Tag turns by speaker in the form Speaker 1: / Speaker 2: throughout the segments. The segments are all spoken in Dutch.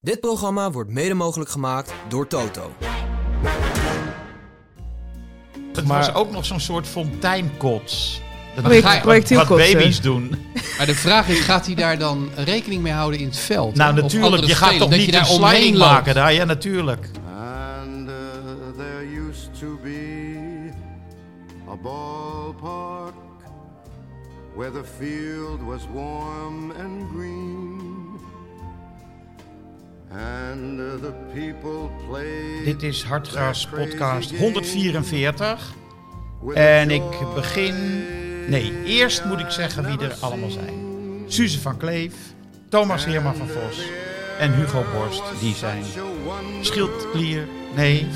Speaker 1: Dit programma wordt mede mogelijk gemaakt door Toto.
Speaker 2: Het
Speaker 3: Maar-
Speaker 2: was ook nog zo'n soort fonteinkots. Dat
Speaker 4: Project-
Speaker 2: ga je- wat, wat
Speaker 4: projectielkotsen.
Speaker 2: baby's doen.
Speaker 3: Maar de vraag is, gaat hij daar dan rekening mee houden in het veld?
Speaker 2: Nou,
Speaker 3: Of
Speaker 2: natuurlijk.
Speaker 3: andere
Speaker 2: Je gaat
Speaker 3: spelers?
Speaker 2: toch
Speaker 3: dat
Speaker 2: niet
Speaker 3: je
Speaker 2: een
Speaker 3: daar
Speaker 2: sliding
Speaker 3: omheen loopt?
Speaker 2: maken daar? Ja, natuurlijk.
Speaker 5: And uh, there used to be a ballpark where the field was warm and green. And uh, the people played.
Speaker 2: Dit is Hartgras
Speaker 5: their crazy
Speaker 2: podcast
Speaker 5: game
Speaker 2: 144.
Speaker 5: with a
Speaker 2: En ik
Speaker 5: joy
Speaker 2: begin... Nee, eerst moet ik zeggen wie er allemaal zijn. Suze van Kleef, Thomas Heerma van Vos en Hugo Borst. Die zijn
Speaker 5: such a wonder
Speaker 2: schildklier. Nee.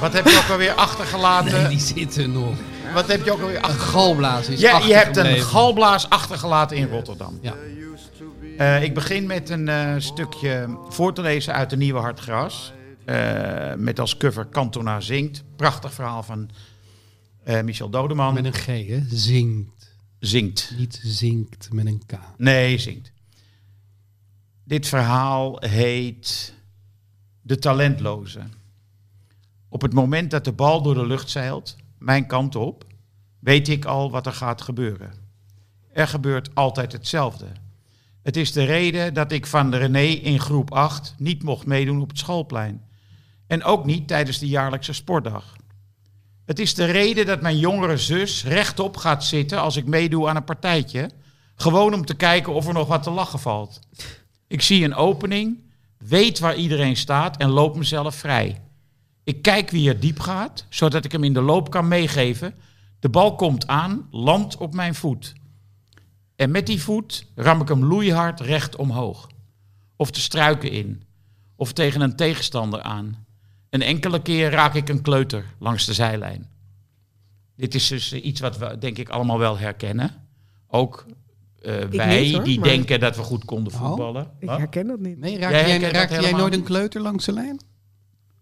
Speaker 2: Wat heb je ook alweer achtergelaten?
Speaker 3: Nee, die zitten nog.
Speaker 2: Wat heb je ook alweer
Speaker 3: Eh, Een
Speaker 2: achtergelaten?
Speaker 3: galblaas is
Speaker 2: Ja, je hebt een
Speaker 3: achtergebleven.
Speaker 2: galblaas achtergelaten in Rotterdam.
Speaker 3: Ja.
Speaker 5: there used to be
Speaker 2: Eh, ik begin met een eh, stukje voor te lezen uit de Nieuwe Hartgras. Eh, met als cover Kantona zingt. Prachtig verhaal van eh, Michel Dodeman.
Speaker 3: Met een G, hè? Zingt.
Speaker 2: Zingt.
Speaker 3: Niet zinkt met een K.
Speaker 2: Nee, zingt. Dit verhaal heet De Talentloze. Op het moment dat de bal door de lucht zeilt, mijn kant op, weet ik al wat er gaat gebeuren. Er gebeurt altijd hetzelfde. Het is de reden dat ik van René in groep 8 niet mocht meedoen op het schoolplein. En ook niet tijdens de jaarlijkse sportdag. Het is de reden dat mijn jongere zus rechtop gaat zitten als ik meedoe aan een partijtje. Gewoon om te kijken of er nog wat te lachen valt. Ik zie een opening, weet waar iedereen staat en loop mezelf vrij. Ik kijk wie er diep gaat, zodat ik hem in de loop kan meegeven. De bal komt aan, landt op mijn voet. En met die voet ram ik hem loeihard recht omhoog. Of de struiken in. Of tegen een tegenstander aan. Een enkele keer raak ik een kleuter langs de zijlijn. Dit is dus eh, iets wat we denk ik allemaal wel herkennen. Ook eh, wij
Speaker 4: niet, hoor,
Speaker 2: die
Speaker 4: maar-
Speaker 2: denken dat we goed konden
Speaker 3: Oh.
Speaker 2: voetballen.
Speaker 4: Ik
Speaker 2: Wat?
Speaker 4: herken dat niet.
Speaker 3: Nee, raak
Speaker 2: Jij
Speaker 3: jij,
Speaker 2: herkent dat
Speaker 3: raakte jij
Speaker 2: helemaal
Speaker 3: nooit een
Speaker 2: niet.
Speaker 3: kleuter langs de lijn?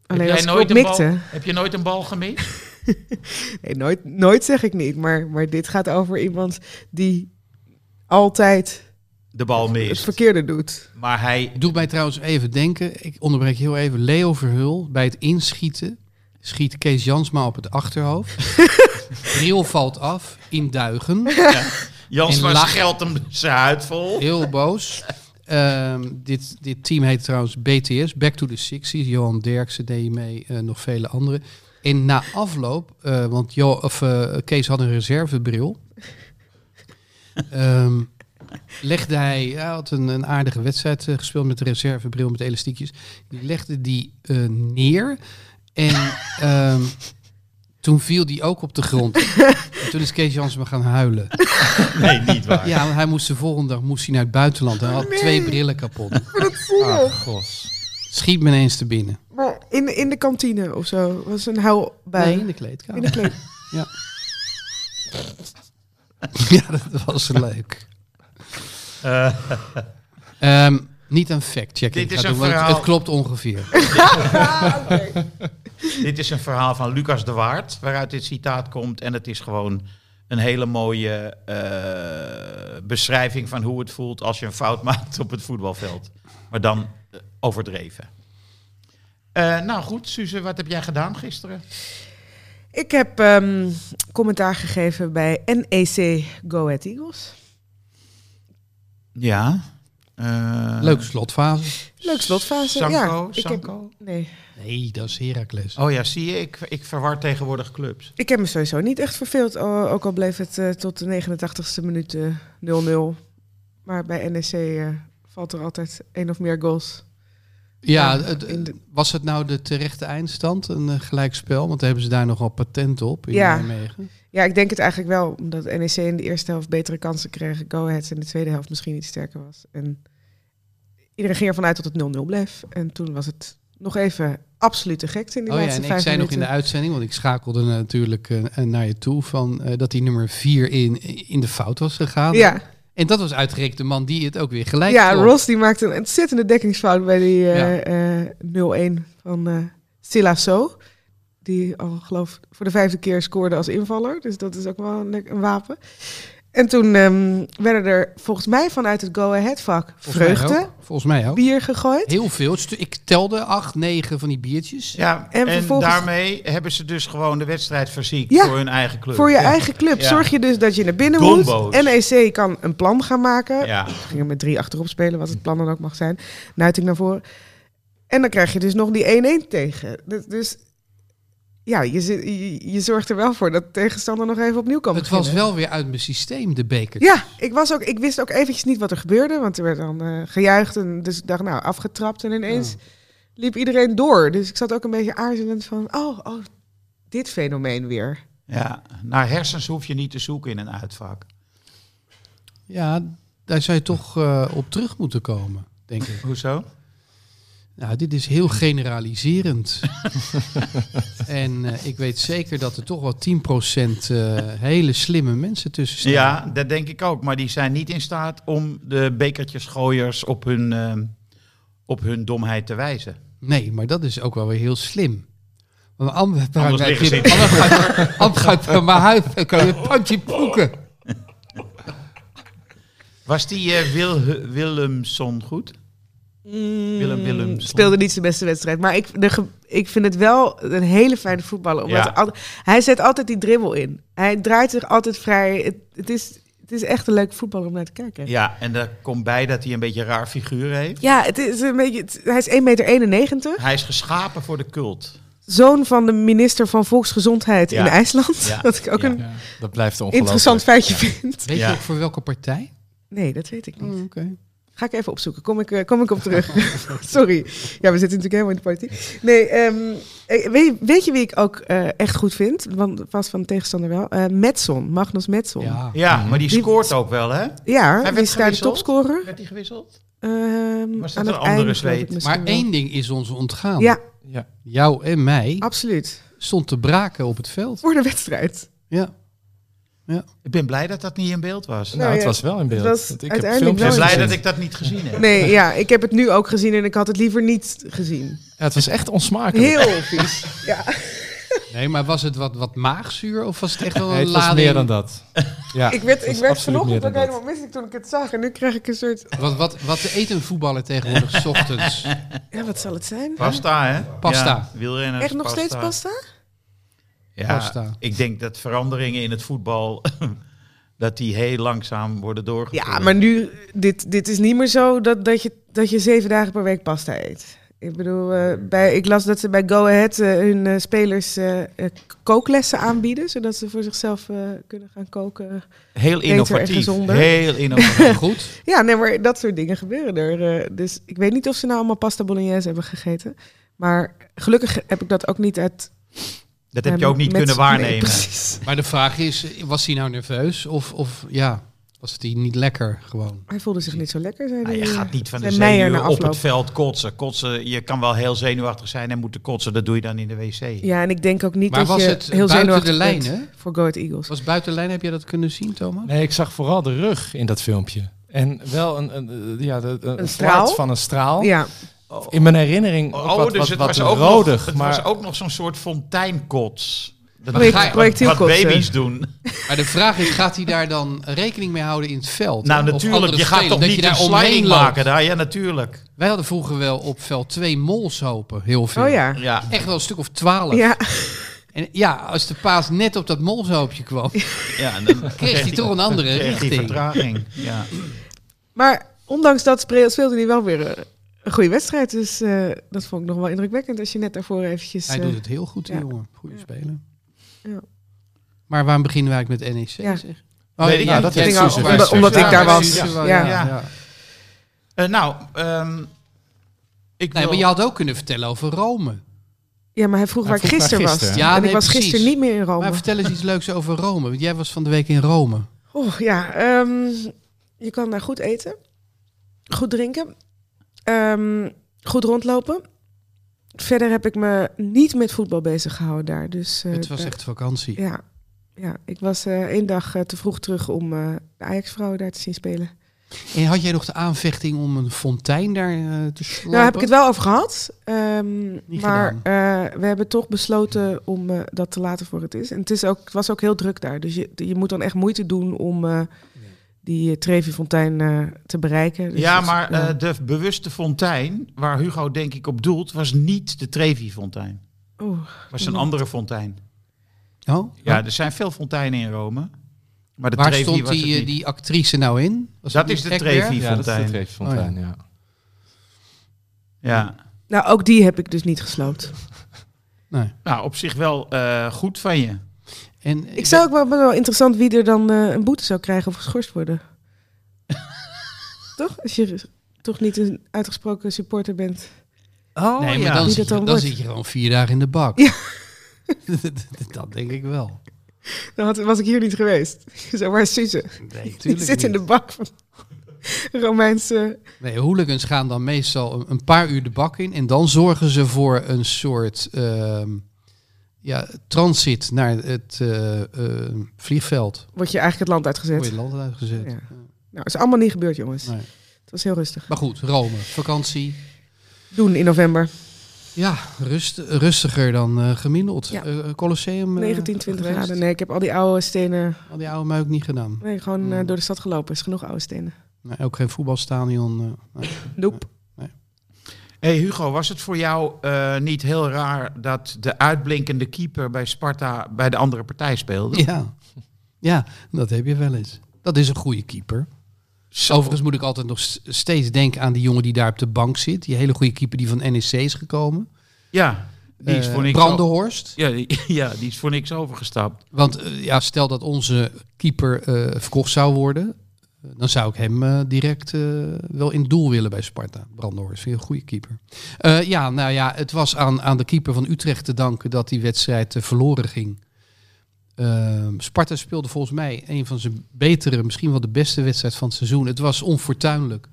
Speaker 4: Alleen als ik
Speaker 2: nooit
Speaker 4: op
Speaker 2: een bal,
Speaker 4: mikte.
Speaker 2: heb je nooit een bal gemist?
Speaker 4: Nee, nooit, nooit zeg ik niet, maar, maar dit gaat over iemand die altijd
Speaker 2: De bal
Speaker 4: het
Speaker 2: mist.
Speaker 4: verkeerde doet.
Speaker 2: Maar hij
Speaker 3: Het doet mij trouwens even denken, ik onderbreek je heel even, Leo Verhul bij het inschieten schiet Kees Jansma op het achterhoofd. Bril valt af, in duigen,
Speaker 2: Jans
Speaker 3: In
Speaker 2: maar
Speaker 3: lach-
Speaker 2: scheldt hem zijn huid vol.
Speaker 3: heel boos. Ehm, dit, dit team heet trouwens BTS, Back to the Sixties. Johan Derksen deed mee, eh, nog vele anderen. En na afloop, eh, want jo of, eh, Kees had een reservebril, Ehm, legde hij, hij had een, een aardige wedstrijd eh, gespeeld met de reservebril met elastiekjes. Die legde die eh, neer en ehm, toen viel die ook op de grond. En toen is Kees Jansma gaan huilen.
Speaker 2: Nee, niet waar.
Speaker 3: Ja, want hij moest de volgende dag moest hij naar het buitenland. Hij had twee brillen kapot.
Speaker 2: Ach, gos.
Speaker 3: Schiet me ineens te binnen.
Speaker 4: Maar in, in de kantine of zo was een hou bij.
Speaker 3: Nee, in de kleedkamer.
Speaker 4: In de kleed-
Speaker 3: Ja, dat was leuk.
Speaker 2: Eh,
Speaker 3: Ehm, niet een fact-checking.
Speaker 2: Dit is
Speaker 3: gaan
Speaker 2: een
Speaker 3: doen, want het-
Speaker 2: verhaal.
Speaker 3: Het klopt ongeveer.
Speaker 2: dit is een verhaal van Lucas de Waard, waaruit dit citaat komt. En het is gewoon een hele mooie eh, beschrijving van hoe het voelt als je een fout maakt op het voetbalveld. Maar dan eh, overdreven. Eh, nou goed, Suze, wat heb jij gedaan gisteren?
Speaker 4: Ik heb ehm, commentaar gegeven bij NEC Go Ahead Eagles.
Speaker 2: Ja.
Speaker 3: Leuke slotfase.
Speaker 4: Leuk eh, slotfase.
Speaker 2: Sanko,
Speaker 4: ja, ik heb,
Speaker 2: Sanko?
Speaker 4: nee,
Speaker 3: Nee, dat is Heracles.
Speaker 2: Oh ja, zie je, ik, ik verwar tegenwoordig clubs.
Speaker 4: ik heb me sowieso niet echt verveeld. o- Ook al bleef het eh, tot de 89ste minuut eh, 0-0. Maar bij NEC eh, valt er altijd één of meer goals.
Speaker 3: Ja,
Speaker 4: Ja,
Speaker 3: het-
Speaker 4: in de-
Speaker 3: was het nou de terechte eindstand? Een eh, gelijkspel? Want daar hebben ze daar nogal patent op in
Speaker 4: Ja.
Speaker 3: Nijmegen. Oh
Speaker 4: Ja, ik denk het eigenlijk wel, omdat NEC in de eerste helft betere kansen kreeg. Go Ahead in de tweede helft misschien iets sterker was. En iedereen ging ervan uit dat het 0-0 bleef. En toen was het nog even absolute gekte in die
Speaker 3: Oh ja,
Speaker 4: laatste
Speaker 3: en ik
Speaker 4: vijf
Speaker 3: zei nog in
Speaker 4: minuten.
Speaker 3: de uitzending, want ik schakelde natuurlijk eh, naar je toe, van, eh, dat die nummer 4 in, in de fout was gegaan.
Speaker 4: ja,
Speaker 3: En dat was uitgerekend de man die het ook weer gelijk
Speaker 4: ja
Speaker 3: trok.
Speaker 4: Ross die maakte een ontzettende dekkingsfout bij die
Speaker 3: Ja.
Speaker 4: eh, eh, 0-1 van eh Silla So. Die al geloof ik, voor de vijfde keer scoorde als invaller. Dus dat is ook wel een, lek- een wapen. En toen ehm, werden er volgens mij vanuit het Go Ahead vak
Speaker 3: Volgens mij
Speaker 4: vreugde,
Speaker 3: ook. Volgens mij ook.
Speaker 4: bier gegooid.
Speaker 3: Heel veel. Stu- Ik telde acht, negen van die biertjes.
Speaker 2: Ja, en,
Speaker 4: En vervolgens-
Speaker 2: daarmee hebben ze dus gewoon de wedstrijd verziekt
Speaker 4: Ja,
Speaker 2: voor hun eigen club.
Speaker 4: Voor je
Speaker 2: Ja.
Speaker 4: eigen club
Speaker 2: Ja.
Speaker 4: zorg je dus dat je naar binnen
Speaker 2: Dombo's.
Speaker 4: moet. NEC kan een plan gaan maken. We
Speaker 2: Ja,
Speaker 4: gingen met drie achterop spelen, wat het plan dan ook mag zijn. Nuiting naar voren. En dan krijg je dus nog die 1-1 tegen. Dus, dus ja, je, zit- je, je zorgt er wel voor dat de tegenstander nog even opnieuw kan
Speaker 3: het
Speaker 4: beginnen.
Speaker 3: was wel weer uit mijn systeem, de beker.
Speaker 4: Ja, ik, was ook, ik wist ook eventjes niet wat er gebeurde, want er werd dan eh, gejuicht en dus ik dacht, nou, afgetrapt en ineens liep iedereen door. Dus ik zat ook een beetje aarzelend van, oh, oh dit fenomeen weer.
Speaker 2: ja, naar hersens hoef je niet te zoeken in een uitvak.
Speaker 3: Ja, daar zou je toch eh, op terug moeten komen, denk ik.
Speaker 2: Hoezo?
Speaker 3: Nou, dit is heel generaliserend. en eh, ik weet zeker dat er toch wel 10% eh, hele slimme mensen tussen staan.
Speaker 2: Ja, dat denk ik ook. Maar die zijn niet in staat om de bekertjesgooiers op hun, ehm, op hun domheid te wijzen.
Speaker 3: Nee, maar dat is ook wel weer heel slim. Want anders
Speaker 2: Anders liggen ze
Speaker 3: gaat van mijn huis en kan je een pandje poeken.
Speaker 2: Was die eh, Wil, Willemson goed? Willem Willem
Speaker 4: Mm, speelde niet zijn beste wedstrijd. Maar ik, de ge- ik vind het wel een hele fijne voetballer. Omdat
Speaker 2: Ja.
Speaker 4: er al- hij zet altijd die dribbel in. Hij draait zich altijd vrij. Het, het, is, het is echt een leuke voetballer om naar te kijken. Ja,
Speaker 2: Ja, en daar komt bij dat hij een beetje een raar figuur heeft.
Speaker 4: het is een beetje, het- hij is 1,91 meter.
Speaker 2: Hij is geschapen voor de cult.
Speaker 4: Zoon van de minister van Volksgezondheid
Speaker 2: Ja.
Speaker 4: in IJsland.
Speaker 2: Ja.
Speaker 4: Dat ik ook
Speaker 2: Ja.
Speaker 4: een
Speaker 6: Ja, dat blijft ongelooflijk.
Speaker 4: interessant feitje vind.
Speaker 3: Weet
Speaker 2: Ja.
Speaker 3: je ook voor welke partij?
Speaker 4: Nee, dat weet ik niet.
Speaker 3: Oké.
Speaker 4: Ga ik even opzoeken. Kom ik, eh, kom ik op terug. Sorry. Ja, we zitten natuurlijk helemaal in de politiek. Nee, ehm, eh, weet, weet je wie ik ook eh, echt goed vind? Want vast van de tegenstander wel. Eh Metson, Magnus Metson. Ja,
Speaker 3: Ja.
Speaker 2: Ja, maar die
Speaker 4: Die-
Speaker 2: scoort ook wel, hè?
Speaker 4: die
Speaker 2: werd
Speaker 4: is daar de
Speaker 2: gewisseld?
Speaker 4: topscorer.
Speaker 2: Werd hij gewisseld?
Speaker 4: Ehm,
Speaker 2: Was dat
Speaker 4: aan
Speaker 2: een
Speaker 4: het
Speaker 2: andere
Speaker 4: eind, geloof ik,
Speaker 2: zweet?
Speaker 4: misschien
Speaker 3: Maar
Speaker 4: wel.
Speaker 3: één ding is ons ontgaan.
Speaker 4: Ja, Ah.
Speaker 6: Ja.
Speaker 3: Jou en mij
Speaker 4: absoluut.
Speaker 3: stond te braken op het veld.
Speaker 4: Voor de wedstrijd.
Speaker 3: Ja.
Speaker 2: Ik ben blij dat dat niet in beeld was.
Speaker 6: Nou,
Speaker 4: Nou
Speaker 6: het
Speaker 4: ja,
Speaker 6: was wel in beeld.
Speaker 4: was
Speaker 6: Want ik heb
Speaker 4: uiteindelijk
Speaker 2: ik ben
Speaker 6: filmpjes
Speaker 4: wel
Speaker 2: blij
Speaker 6: gezien.
Speaker 2: dat ik dat niet gezien heb.
Speaker 4: Nee, ja, ik heb het nu ook gezien en ik had het liever niet gezien.
Speaker 6: Ja, het was echt onsmakelijk.
Speaker 4: Heel vies. Ja.
Speaker 3: Nee, maar was het wat, wat maagzuur of was het echt wel een
Speaker 6: Nee, het was
Speaker 3: lading?
Speaker 6: meer dan dat. Ja,
Speaker 4: Ik werd,
Speaker 6: het
Speaker 4: ik
Speaker 6: was
Speaker 4: werd
Speaker 6: absoluut meer
Speaker 4: vanochtend
Speaker 6: dan
Speaker 4: ook
Speaker 6: dat.
Speaker 4: helemaal misselijk toen ik het zag. En nu krijg ik een soort...
Speaker 3: Wat, wat, wat eet een voetballer tegenwoordig 's ochtends?
Speaker 4: Ja, wat zal het zijn?
Speaker 2: Pasta, hè?
Speaker 3: Pasta.
Speaker 2: Ja, wielrenners,
Speaker 4: Echt nog steeds pasta?
Speaker 2: Ja,
Speaker 3: Pasta.
Speaker 2: ik denk dat veranderingen in het voetbal... dat die heel langzaam worden doorgevoerd.
Speaker 4: Ja, maar nu, dit, dit is niet meer zo dat, dat, je, dat je zeven dagen per week pasta eet. Ik bedoel, eh, bij, ik las dat ze bij Go Ahead eh, hun eh, spelers eh, eh, k- kooklessen aanbieden, zodat ze voor zichzelf eh, kunnen gaan koken.
Speaker 2: Heel
Speaker 4: en
Speaker 2: innovatief.
Speaker 4: gezonder.
Speaker 2: Heel innovatief.
Speaker 3: Goed.
Speaker 4: Ja, nee, maar dat soort dingen gebeuren er. eh, dus ik weet niet of ze nou allemaal pasta bolognese hebben gegeten. Maar gelukkig heb ik dat ook niet uit...
Speaker 2: Dat heb je
Speaker 4: eh,
Speaker 2: ook niet
Speaker 4: met-
Speaker 2: kunnen
Speaker 4: nee,
Speaker 2: waarnemen.
Speaker 4: precies.
Speaker 3: Maar de vraag is, was hij nou nerveus of, of ja, was hij niet lekker gewoon?
Speaker 4: Hij voelde zich niet zo lekker, zei
Speaker 2: Nou,
Speaker 4: die,
Speaker 2: je
Speaker 4: eh,
Speaker 2: gaat niet van de
Speaker 4: zei Meijer na
Speaker 2: zenuwen op
Speaker 4: afloop.
Speaker 2: het veld kotsen. kotsen. Je kan wel heel zenuwachtig zijn en moeten kotsen. Dat doe je dan in de wc.
Speaker 4: Ja, en ik denk ook niet
Speaker 3: Maar
Speaker 4: dat
Speaker 3: was
Speaker 4: je
Speaker 3: het
Speaker 4: heel
Speaker 3: buiten
Speaker 4: zenuwachtig
Speaker 3: de lijn,
Speaker 4: bent
Speaker 3: hè?
Speaker 4: voor Go Ahead Eagles.
Speaker 3: Was buiten lijn, heb je dat kunnen zien, Thomas?
Speaker 6: Nee, ik zag vooral de rug in dat filmpje. En wel een, een, eh, ja, de- een, een
Speaker 4: straal?
Speaker 6: plaats van een straal.
Speaker 4: Ja, Oh
Speaker 6: In mijn herinnering ook
Speaker 2: Oh,
Speaker 6: wat,
Speaker 2: dus
Speaker 6: wat,
Speaker 2: het,
Speaker 6: wat
Speaker 2: was ook
Speaker 6: rodig.
Speaker 2: nog, het
Speaker 6: maar
Speaker 2: was ook nog zo'n soort fonteinkots. Dat
Speaker 4: Project-
Speaker 2: wat- Wat
Speaker 4: projectielkotsen.
Speaker 2: baby's doen.
Speaker 3: Maar de vraag is, gaat hij daar dan rekening mee houden in het veld?
Speaker 2: Nou,
Speaker 3: Of
Speaker 2: natuurlijk.
Speaker 3: andere
Speaker 2: Je gaat
Speaker 3: spelers?
Speaker 2: toch
Speaker 3: Dat
Speaker 2: niet
Speaker 3: je
Speaker 2: een
Speaker 3: daar
Speaker 2: sliding
Speaker 3: omheen loopt?
Speaker 2: maken daar? Ja, natuurlijk.
Speaker 3: Wij hadden vroeger wel op veld twee molshopen, heel veel.
Speaker 4: oh ja.
Speaker 2: Ja.
Speaker 3: Echt wel een stuk of twaalf.
Speaker 4: Ja,
Speaker 3: En ja, als de paas net op dat molshoopje kwam,
Speaker 2: ja en dan
Speaker 3: kreeg hij toch een andere
Speaker 2: kreeg hij
Speaker 3: richting.
Speaker 2: vertraging. Ja.
Speaker 4: maar ondanks dat spre- speelde hij wel weer eh, een goede wedstrijd. Dus eh, dat vond ik nog wel indrukwekkend als je net daarvoor eventjes...
Speaker 3: Hij
Speaker 4: eh,
Speaker 3: doet het heel goed, die
Speaker 4: ja.
Speaker 3: jongen. Goede
Speaker 4: Ja.
Speaker 3: speler.
Speaker 4: Ja.
Speaker 3: Maar waarom beginnen we eigenlijk met E NEC?
Speaker 4: Ja.
Speaker 3: Zeg?
Speaker 2: Weet ik niet.
Speaker 6: dat
Speaker 3: jij
Speaker 6: heeft
Speaker 4: Dingen
Speaker 6: Suze
Speaker 4: omdat-
Speaker 6: Wester
Speaker 4: omdat ik
Speaker 6: gedaan.
Speaker 4: daar was.
Speaker 3: Suze wel,
Speaker 4: Ja.
Speaker 3: ja,
Speaker 2: Ja.
Speaker 3: ja.
Speaker 2: Eh, nou, ehm, ik
Speaker 3: Nee,
Speaker 2: wil-
Speaker 3: maar je had ook kunnen vertellen over Rome.
Speaker 4: Ja, maar hij vroeg
Speaker 6: Hij
Speaker 4: waar ik
Speaker 6: vroeg waar
Speaker 4: gisteren was.
Speaker 6: gisteren.
Speaker 3: Ja,
Speaker 4: en
Speaker 3: nee,
Speaker 4: ik was
Speaker 3: precies.
Speaker 4: gisteren niet meer in Rome.
Speaker 3: Maar vertel eens iets leuks over Rome. Want jij was van de week in Rome.
Speaker 4: Oh ja, ehm, je kan daar goed eten, goed drinken, ehm, goed rondlopen. Verder heb ik me niet met voetbal bezig gehouden daar. Dus, eh,
Speaker 3: het was
Speaker 4: daar-
Speaker 3: echt vakantie.
Speaker 4: Ja, ja ik was eh één dag eh, te vroeg terug om eh, de Ajax-vrouwen daar te zien spelen.
Speaker 3: En had jij nog de aanvechting om een fontein daar eh, te slopen?
Speaker 4: Nou, heb ik het wel over gehad. ehm,
Speaker 3: Niet
Speaker 4: maar eh, we hebben toch besloten om eh, dat te laten voor het is. En het, is ook, het was ook heel druk daar. Dus je, je moet dan echt moeite doen om eh, die eh, Trevi-fontein eh, te bereiken. Dus
Speaker 2: ja,
Speaker 4: dat is-
Speaker 2: maar
Speaker 4: ja.
Speaker 2: eh, de bewuste fontein, waar Hugo denk ik op doelt, was niet de Trevi-fontein.
Speaker 4: Oeh,
Speaker 2: was een andere fontein.
Speaker 3: Oh?
Speaker 2: Ja, er zijn veel fonteinen in Rome. Maar de
Speaker 3: Waar
Speaker 2: Trevi
Speaker 3: stond
Speaker 2: was het
Speaker 3: die, eh,
Speaker 2: niet.
Speaker 3: die actrice nou in? Was
Speaker 2: Dat
Speaker 3: niet
Speaker 2: is de
Speaker 3: Egbert?
Speaker 2: Trevi.
Speaker 6: Ja, dat is
Speaker 2: Fontein.
Speaker 6: de Trevi-fontein,
Speaker 4: Oh
Speaker 6: ja.
Speaker 2: Ja.
Speaker 4: Nou, ook die heb ik dus niet gesloopt.
Speaker 3: Nee.
Speaker 2: Nou, op zich wel eh, goed van je.
Speaker 3: En
Speaker 4: Ik zou ook wel, wel interessant wie er dan eh, een boete zou krijgen of geschorst worden. toch? Als je toch niet een uitgesproken supporter bent.
Speaker 2: Oh,
Speaker 3: eh, nee, maar dan,
Speaker 4: Wie dat
Speaker 3: zit je,
Speaker 4: dan
Speaker 3: dan
Speaker 4: wordt.
Speaker 3: zit je gewoon vier dagen in de bak.
Speaker 4: Ja.
Speaker 3: dat denk ik wel.
Speaker 4: Dan had- was ik hier niet geweest. Zo, waar is Suze?
Speaker 3: Nee,
Speaker 4: Die zit in de bak van Romeinse...
Speaker 3: Nee, hooligans gaan dan meestal een- een paar uur de bak in. En dan zorgen ze voor een soort ehm, ja, transit naar het eh, eh, vliegveld.
Speaker 4: Word je eigenlijk het land
Speaker 3: Hoe je
Speaker 4: uitgezet.
Speaker 3: het land uitgezet.
Speaker 4: Ja. Nou, is allemaal niet gebeurd, jongens.
Speaker 3: Nee.
Speaker 4: Het was heel rustig.
Speaker 3: Maar goed, Rome, vakantie.
Speaker 4: Doen in november.
Speaker 3: Ja, rust, rustiger dan eh, gemiddeld.
Speaker 4: Ja.
Speaker 3: Eh, Colosseum. eh,
Speaker 4: 19, 20
Speaker 3: geweest?
Speaker 4: graden. Nee, ik heb al die oude stenen...
Speaker 3: Al die oude muik niet gedaan.
Speaker 4: Nee, gewoon
Speaker 3: Hmm.
Speaker 4: eh, door de stad gelopen. Is genoeg oude stenen.
Speaker 3: Nee, ook geen voetbalstadion. eh, nee.
Speaker 4: Nope.
Speaker 2: Hey Hugo, was het voor jou eh, niet heel raar dat de uitblinkende keeper bij Sparta bij de andere partij speelde?
Speaker 3: Ja. ja, dat heb je wel eens. Dat is een goede keeper. Overigens moet ik altijd nog s- steeds denken aan die jongen die daar op de bank zit. Die hele goede keeper die van NEC is gekomen.
Speaker 2: Ja, die is
Speaker 3: Eh,
Speaker 2: voor niks o-
Speaker 3: Brandenhorst.
Speaker 2: Ja, die- ja, die is voor niks overgestapt.
Speaker 3: Want eh, ja, stel dat onze keeper eh, verkocht zou worden. eh, Dan zou ik hem eh, direct eh, wel in het doel willen bij Sparta. Brandenhorst, vind je een goede keeper. Eh, ja, nou ja, het was aan, aan de keeper van Utrecht te danken dat die wedstrijd eh, verloren ging. Ehm, Sparta speelde volgens mij een van zijn betere, misschien wel de beste wedstrijd van het seizoen. Het was onfortuinlijk.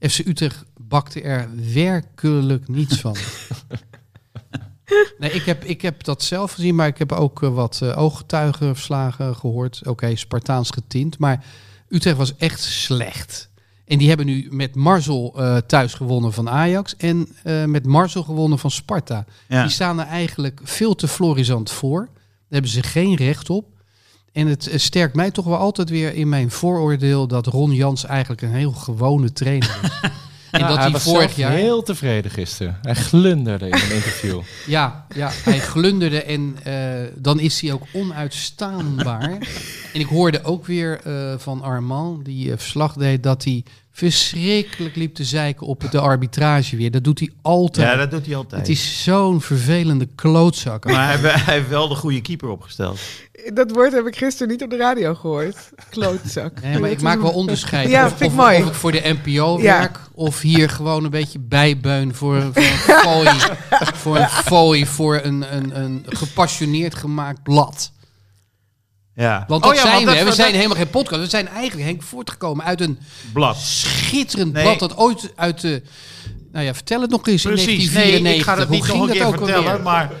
Speaker 3: FC Utrecht bakte er werkelijk niets van. Nee, ik heb, ik heb dat zelf gezien, maar ik heb ook eh, wat eh, ooggetuigenverslagen gehoord. Oké, Spartaans getint, maar Utrecht was echt slecht. En die hebben nu met Marzel eh, thuis gewonnen van Ajax en eh, met Marzel gewonnen van Sparta.
Speaker 2: Ja.
Speaker 3: Die staan er eigenlijk veel te florisant voor. Daar hebben ze geen recht op. En het eh, sterkt mij toch wel altijd weer in mijn vooroordeel dat Ron Jans eigenlijk een heel gewone trainer is. en
Speaker 6: Ja,
Speaker 3: dat
Speaker 6: hij
Speaker 3: hij
Speaker 6: was
Speaker 3: vorig
Speaker 6: zelf
Speaker 3: jaar.
Speaker 6: heel tevreden gisteren. Hij glunderde in een interview.
Speaker 3: Ja, ja, hij glunderde en eh, dan is hij ook onuitstaanbaar. en ik hoorde ook weer eh, van Armand, die eh, verslag deed, dat hij verschrikkelijk liep te zeiken op de arbitrage weer. Dat doet hij altijd.
Speaker 2: Ja, dat doet hij altijd.
Speaker 3: Het is zo'n vervelende klootzak.
Speaker 2: Maar hij, heeft- hij heeft wel de goede keeper opgesteld.
Speaker 4: Dat woord heb ik gisteren niet op de radio gehoord. Klootzak.
Speaker 3: Nee, maar ik maak wel onderscheid.
Speaker 4: Ja,
Speaker 3: Of-
Speaker 4: vind ik
Speaker 3: of,
Speaker 4: mooi.
Speaker 3: Of ik voor de NPO
Speaker 4: Ja.
Speaker 3: werk, of hier gewoon een beetje bijbeun voor, voor een fooi. voor een fooi, voor een, een, een gepassioneerd gemaakt blad.
Speaker 2: Ja.
Speaker 3: Want
Speaker 2: Oh
Speaker 3: dat
Speaker 2: ja,
Speaker 3: zijn
Speaker 2: want
Speaker 3: we. hè.
Speaker 2: dat-
Speaker 3: we
Speaker 2: dat-
Speaker 3: zijn helemaal geen podcast. We zijn eigenlijk, Henk, voortgekomen uit een
Speaker 2: Blad.
Speaker 3: schitterend
Speaker 2: Nee.
Speaker 3: blad dat ooit uit de... Nou ja, vertel het nog eens in
Speaker 2: Precies, nee,
Speaker 3: 1994.
Speaker 2: ik ga dat
Speaker 3: Hoe
Speaker 2: niet nog
Speaker 3: ging
Speaker 2: een keer
Speaker 3: dat ook
Speaker 2: vertellen.
Speaker 3: alweer?
Speaker 2: Maar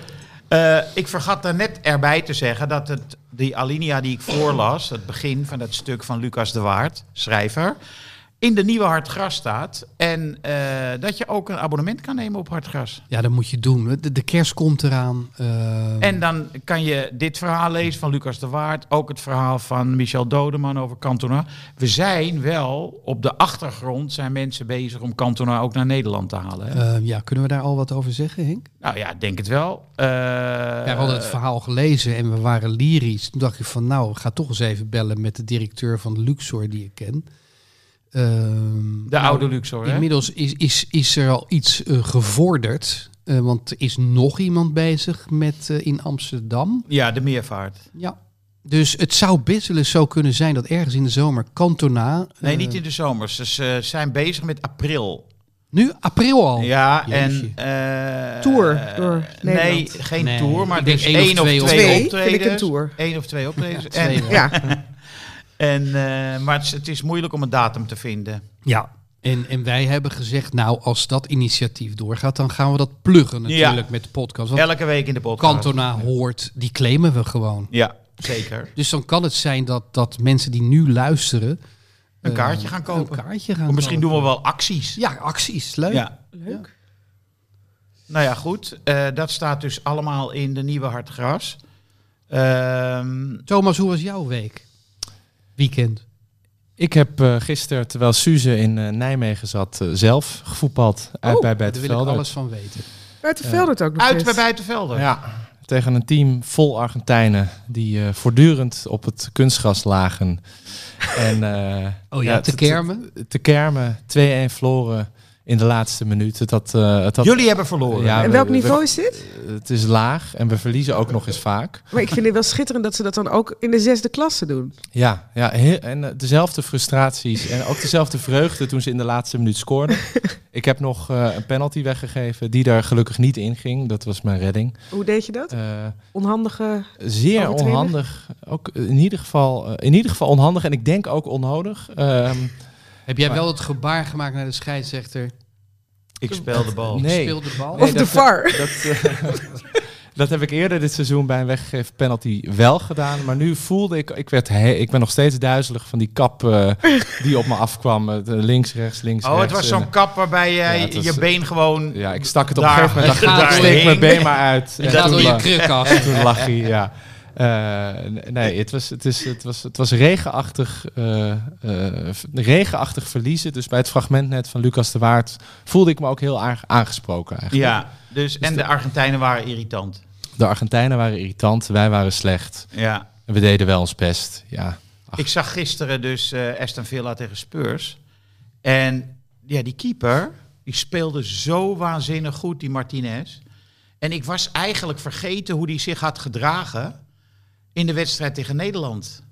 Speaker 2: eh, ik vergat daar net erbij te zeggen dat het, die alinea die ik voorlas, het begin van dat stuk van Lucas de Waard, schrijver, in de nieuwe Hartgras staat. En eh, dat je ook een abonnement kan nemen op Hartgras.
Speaker 3: Ja, dat moet je doen. De, de kerst komt eraan. eh,
Speaker 2: En dan kan je dit verhaal lezen van Lucas de Waard. Ook het verhaal van Michel Dodeman over Cantona. We zijn wel, op de achtergrond zijn mensen bezig om Cantona ook naar Nederland te halen. hè?
Speaker 3: eh, ja, kunnen we daar al wat over zeggen, Henk?
Speaker 2: Nou ja, ik denk het wel. Eh,
Speaker 3: Ja, we hadden het verhaal gelezen en we waren lyrisch. Toen dacht ik van, nou, ik ga toch eens even bellen met de directeur van Luxor die ik ken. Ehm,
Speaker 2: De
Speaker 3: nou,
Speaker 2: oude Luxor, hè?
Speaker 3: Inmiddels is, is, is er al iets eh, gevorderd. eh, want er is nog iemand bezig met eh, in Amsterdam.
Speaker 2: Ja, de meervaart.
Speaker 3: Ja. Dus het zou best wel eens zo kunnen zijn dat ergens in de zomer Cantona... eh,
Speaker 2: Nee, niet in de zomers. Ze ze zijn bezig met april.
Speaker 3: Nu? April al?
Speaker 2: ja,
Speaker 3: Oh, jeetje.
Speaker 2: en... eh,
Speaker 4: Tour door
Speaker 2: Nee,
Speaker 4: Nederland.
Speaker 2: geen
Speaker 3: Nee,
Speaker 2: tour, maar
Speaker 3: ik
Speaker 2: ik
Speaker 3: denk
Speaker 2: denk één of twee,
Speaker 4: Twee, vind
Speaker 2: optredens.
Speaker 4: ik een tour.
Speaker 2: Eén of twee optredens.
Speaker 3: twee
Speaker 2: en,
Speaker 3: wel.
Speaker 4: Ja,
Speaker 2: en, eh, maar het is, het is moeilijk om een datum te vinden.
Speaker 3: Ja. En, en wij hebben gezegd, nou, als dat initiatief doorgaat, dan gaan we dat pluggen natuurlijk met de podcast. Want
Speaker 2: Elke week in de podcast.
Speaker 3: Cantona hoort, die claimen we gewoon.
Speaker 2: Ja, zeker.
Speaker 3: Dus dan kan het zijn dat, dat mensen die nu luisteren, eh,
Speaker 2: Een
Speaker 3: eh,
Speaker 2: kaartje gaan kopen.
Speaker 3: Een kaartje gaan
Speaker 2: Of misschien
Speaker 3: kopen.
Speaker 2: doen we wel acties.
Speaker 3: Ja, acties. Leuk.
Speaker 2: Ja.
Speaker 4: Leuk.
Speaker 2: Nou ja, goed. Eh, dat staat dus allemaal in de nieuwe Hartgras. Ehm
Speaker 3: Thomas, hoe was jouw week? Weekend.
Speaker 6: Ik heb eh gisteren, terwijl Suze in eh, Nijmegen zat, eh, zelf gevoetbald. Uit
Speaker 4: Oh,
Speaker 6: bij
Speaker 3: Daar wil ik
Speaker 6: Buitenvelder.
Speaker 3: alles van weten.
Speaker 4: Buiten
Speaker 6: Ja.
Speaker 4: Veldert ook nog
Speaker 2: uit
Speaker 4: eens.
Speaker 2: bij Buitenvelder.
Speaker 6: Ja, tegen een team vol Argentijnen die eh, voortdurend op het kunstgras lagen. en, eh,
Speaker 3: Oh ja, te
Speaker 6: t- t-
Speaker 3: kermen.
Speaker 6: Te kermen, 2-1 verloren in de laatste minuut. Het had, eh, het had,
Speaker 2: Jullie hebben verloren.
Speaker 6: Ja.
Speaker 4: En
Speaker 6: we-
Speaker 4: welk
Speaker 6: we-
Speaker 4: niveau is dit?
Speaker 6: Het is laag en we verliezen ook nog eens vaak.
Speaker 4: Maar ik vind het wel schitterend dat ze dat dan ook in de zesde klasse doen.
Speaker 6: Ja, ja heel- en eh, dezelfde frustraties en ook dezelfde vreugde toen ze in de laatste minuut scoorden. Ik heb nog eh, een penalty weggegeven die daar gelukkig niet in ging. Dat was mijn redding.
Speaker 4: Hoe deed je dat?
Speaker 6: Eh,
Speaker 4: Onhandige...
Speaker 6: zeer
Speaker 4: Overtreding?
Speaker 6: onhandig. Ook eh, in ieder, geval, eh, in ieder geval onhandig en ik denk ook onnodig. Ehm,
Speaker 3: Heb jij wel het gebaar gemaakt naar de scheidsrechter?
Speaker 2: Ik speel de bal.
Speaker 6: Nee.
Speaker 3: Speel de bal.
Speaker 6: Nee,
Speaker 4: of de
Speaker 6: dat-
Speaker 4: VAR.
Speaker 6: dat, eh, dat heb ik eerder dit seizoen bij een weggegeven penalty wel gedaan. Maar nu voelde ik, ik, werd he- ik ben nog steeds duizelig van die kap eh, die op me afkwam. Eh, links, rechts, links,
Speaker 2: Oh, het
Speaker 6: rechts.
Speaker 2: was
Speaker 6: En,
Speaker 2: zo'n kap waarbij jij
Speaker 6: Ja, het was-
Speaker 2: je been gewoon...
Speaker 6: Ja, ik stak het op
Speaker 2: Daar.
Speaker 6: een gegeven moment.
Speaker 3: Hij
Speaker 6: dacht ik,
Speaker 3: gaat
Speaker 6: steek
Speaker 2: doorheen.
Speaker 6: mijn been maar uit.
Speaker 3: Je gaat door je
Speaker 6: lag,
Speaker 3: kruk
Speaker 6: en
Speaker 3: af.
Speaker 6: toen lag hij, ja. Eh, n- nee, het was, het, is, het, was, het was regenachtig, eh, eh, v- regenachtig verliezen. Dus bij het fragment net van Lucas de Waard voelde ik me ook heel erg aangesproken eigenlijk.
Speaker 2: Ja, dus, en de Argentijnen waren irritant.
Speaker 6: De Argentijnen waren irritant, wij waren slecht.
Speaker 2: Ja.
Speaker 6: We deden wel ons best, ja. Ach.
Speaker 2: Ik zag gisteren dus eh Aston Villa tegen Spurs. En ja, die keeper, die speelde zo waanzinnig goed, die Martinez. En ik was eigenlijk vergeten hoe die zich had gedragen in de wedstrijd tegen Nederland.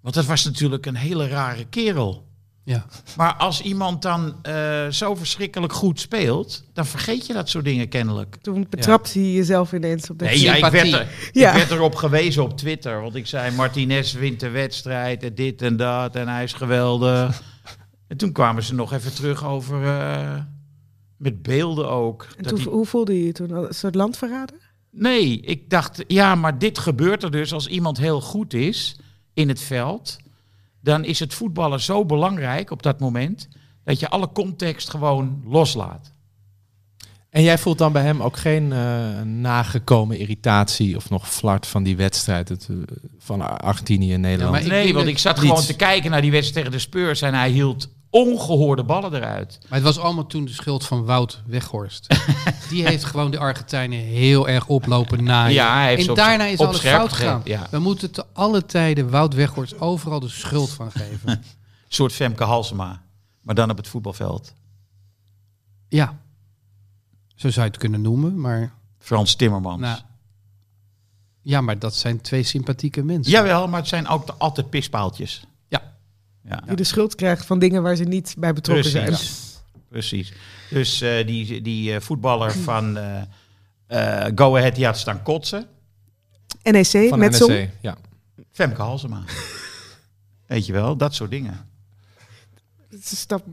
Speaker 2: Want dat was natuurlijk een hele rare kerel.
Speaker 3: Ja.
Speaker 2: Maar als iemand dan eh, zo verschrikkelijk goed speelt, dan vergeet je dat soort dingen kennelijk.
Speaker 4: Toen betrapte hij jezelf ineens op dat...
Speaker 2: Nee, ja, ik, werd
Speaker 3: sympathie.
Speaker 2: er,
Speaker 4: Ja.
Speaker 2: ik werd erop gewezen op Twitter. Want ik zei, Martinez wint de wedstrijd en dit en dat. En hij is geweldig. en toen kwamen ze nog even terug over... eh, met beelden ook.
Speaker 4: En
Speaker 2: Dat
Speaker 4: toen,
Speaker 2: die-
Speaker 4: hoe voelde je je toen? Een soort landverrader?
Speaker 2: Nee, ik dacht, ja, maar dit gebeurt er dus als iemand heel goed is in het veld. Dan is het voetballen zo belangrijk op dat moment... dat je alle context gewoon loslaat.
Speaker 6: En jij voelt dan bij hem ook geen eh, nagekomen irritatie of nog flart van die wedstrijd het, eh, van Ar- Argentinië en Nederland?
Speaker 3: maar Ik
Speaker 2: nee,
Speaker 3: denk
Speaker 2: want
Speaker 3: dat-
Speaker 2: ik zat
Speaker 6: Niets.
Speaker 2: gewoon te kijken naar die wedstrijd tegen de Spurs... en hij hield ongehoorde ballen eruit.
Speaker 3: Maar het was allemaal toen de schuld van Wout Weghorst. Die heeft gewoon de Argentijnen heel erg oplopen naaien.
Speaker 2: Ja, hij heeft ze
Speaker 3: en
Speaker 2: op-
Speaker 3: daarna is
Speaker 2: op
Speaker 3: alles
Speaker 2: scherp
Speaker 3: fout
Speaker 2: gegeven,
Speaker 3: gegaan.
Speaker 2: ja.
Speaker 3: We moeten te alle tijden Wout Weghorst overal de schuld van geven.
Speaker 2: Een soort Femke Halsema, maar dan op het voetbalveld.
Speaker 3: Ja. Zo zou je het kunnen noemen, maar...
Speaker 2: Frans Timmermans.
Speaker 3: Nou, ja, maar dat zijn twee sympathieke mensen.
Speaker 2: Jawel, maar het zijn ook de- altijd pispaaltjes.
Speaker 3: Ja.
Speaker 2: Ja,
Speaker 4: Die de schuld krijgt van dingen waar ze niet bij betrokken zijn.
Speaker 2: precies. Precies. Dus eh, die, die eh, voetballer van eh, eh, Go Ahead, die had staan kotsen.
Speaker 4: NEC,
Speaker 6: van
Speaker 4: E met
Speaker 2: E
Speaker 6: NEC,
Speaker 4: zo'n...
Speaker 6: ja.
Speaker 2: Femke Halsema. Weet je wel, dat soort dingen.
Speaker 4: stap